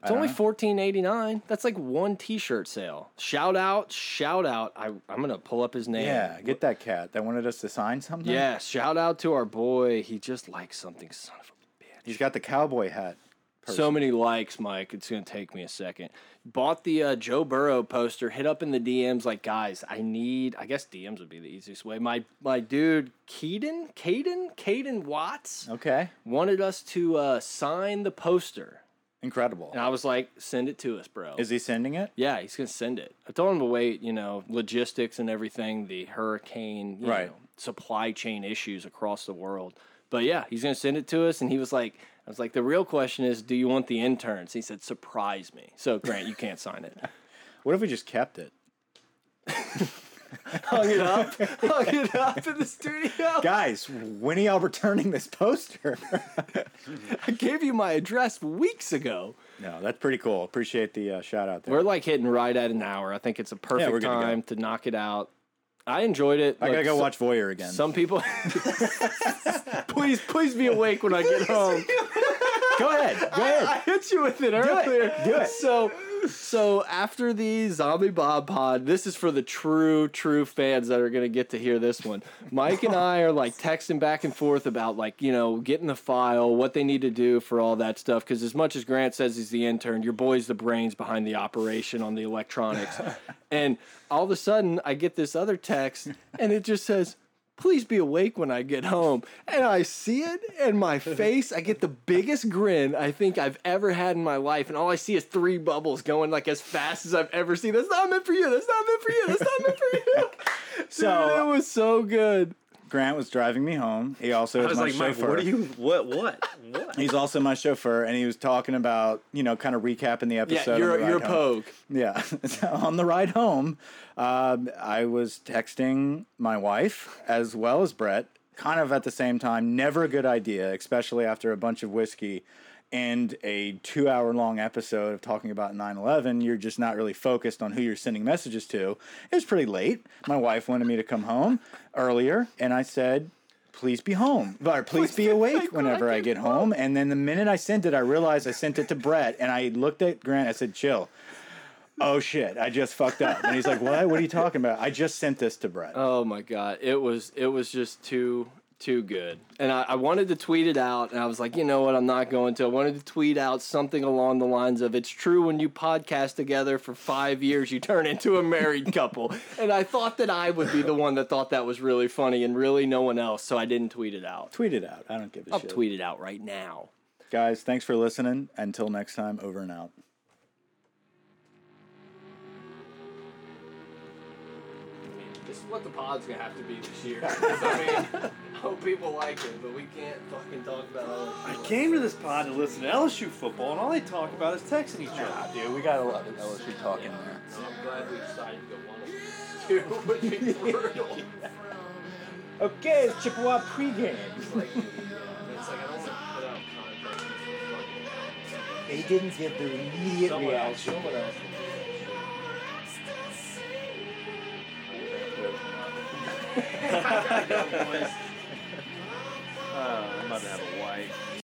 [SPEAKER 2] It's only fourteen eighty nine. That's like one T-shirt sale. Shout out! Shout out! I, I'm gonna pull up his name.
[SPEAKER 1] Yeah, get that cat that wanted us to sign something.
[SPEAKER 2] Yeah. Shout out to our boy. He just likes something. Son of a bitch.
[SPEAKER 1] he's got the cowboy hat.
[SPEAKER 2] So many likes, Mike. It's gonna take me a second. Bought the uh, Joe Burrow poster. Hit up in the DMs, like guys. I need. I guess DMs would be the easiest way. My my dude, Keaton, Caden, Caden Watts
[SPEAKER 1] Okay,
[SPEAKER 2] wanted us to uh, sign the poster,
[SPEAKER 1] incredible.
[SPEAKER 2] and I was like, send it to us, bro.
[SPEAKER 1] Is he sending it?
[SPEAKER 2] yeah, he's gonna send it. I told him to wait. You know, logistics and everything, the hurricane, you
[SPEAKER 1] Right.
[SPEAKER 2] know, supply chain issues across the world. But yeah, he's gonna send it to us, and he was like, "I was like, the real question is, do you want the interns?" He said, "Surprise me." So Grant, you can't sign it.
[SPEAKER 1] What if we just kept it?
[SPEAKER 2] hung it up, hung it up in the studio.
[SPEAKER 1] Guys, when are y'all returning this poster?
[SPEAKER 2] I gave you my address weeks ago.
[SPEAKER 1] no, that's pretty cool. Appreciate the uh, shout out there.
[SPEAKER 2] We're like hitting right at an hour. I think it's a perfect
[SPEAKER 1] we're good to go.
[SPEAKER 2] time to knock it out. I enjoyed it.
[SPEAKER 1] I gotta
[SPEAKER 2] Look,
[SPEAKER 1] go
[SPEAKER 2] so-
[SPEAKER 1] watch Voyeur again.
[SPEAKER 2] Some people, please, please be awake when I get home.
[SPEAKER 1] go ahead. Go ahead.
[SPEAKER 2] I hit you with it earlier.
[SPEAKER 1] Do it.
[SPEAKER 2] So, so after the Zombie Bob Pod, this is for the true, true fans that are gonna get to hear this one. Mike and I are like texting back and forth about like you know getting the file, what they need to do for all that stuff. Because as much as Grant says he's the intern, your boy's the brains behind the operation on the electronics. and all of a sudden, I get this other text, and it just says please be awake when I get home. And I see it, and my face, I get the biggest grin I think I've ever had in my life. And all I see is three bubbles going like as fast as I've ever seen. That's not meant for you. That's not meant for you. That's not meant for you.
[SPEAKER 1] So-
[SPEAKER 2] Dude, it was so good.
[SPEAKER 1] Grant was driving me home. He also
[SPEAKER 3] I
[SPEAKER 1] is
[SPEAKER 3] was
[SPEAKER 1] my
[SPEAKER 3] like, Mike,
[SPEAKER 1] chauffeur.
[SPEAKER 3] what are you? What? What? What?
[SPEAKER 1] He's also my chauffeur, and he was talking about you know kind of recapping the
[SPEAKER 2] Yeah,
[SPEAKER 1] episode. on
[SPEAKER 2] you're,
[SPEAKER 1] the ride
[SPEAKER 2] you're a
[SPEAKER 1] home.
[SPEAKER 2] pogue.
[SPEAKER 1] Yeah. So on the ride home, um, I was texting my wife as well as Brett, kind of at the same time. Never a good idea, especially after a bunch of whiskey and a two hour long episode of talking about 9 11. You're just not really focused on who you're sending messages to. It was pretty late. My wife wanted me to come home earlier, and I said, Please be home, or please be awake whenever I get home. And then the minute I sent it, I realized I sent it to Brett, and I looked at Grant. I said, "Chill, oh shit, I just fucked up. And he's like, what? What are you talking about? I just sent this to Brett.
[SPEAKER 2] Oh my god, it was it was just too too good. And I, I wanted to tweet it out, and I was like, you know what, I'm not going to. I wanted to tweet out something along the lines of, "It's true when you podcast together for five years, you turn into a married couple." And I thought that I would be the one that thought that was really funny, and really no one else. So I didn't tweet it out.
[SPEAKER 1] Tweet it out. I don't give a
[SPEAKER 2] I'll
[SPEAKER 1] shit.
[SPEAKER 2] tweet it out right now.
[SPEAKER 1] Guys, thanks for listening. Until next time, over and out.
[SPEAKER 2] This is what the pod's gonna have to be this year. I mean, hope people like it, but we can't fucking talk about.
[SPEAKER 4] I came to this pod to listen to LSU football, and all they talk about is texting each other.
[SPEAKER 1] Dude, we gotta let LSU talk in there.
[SPEAKER 2] I'm glad we decided to go one of these. Two would be brutal.
[SPEAKER 1] Okay, it's Chippewa pregame.
[SPEAKER 2] It's like I don't want to put out content.
[SPEAKER 1] They didn't get the immediate
[SPEAKER 2] Someone else,
[SPEAKER 1] reaction.
[SPEAKER 2] someone else.
[SPEAKER 3] Uh, I'm about to have a wife.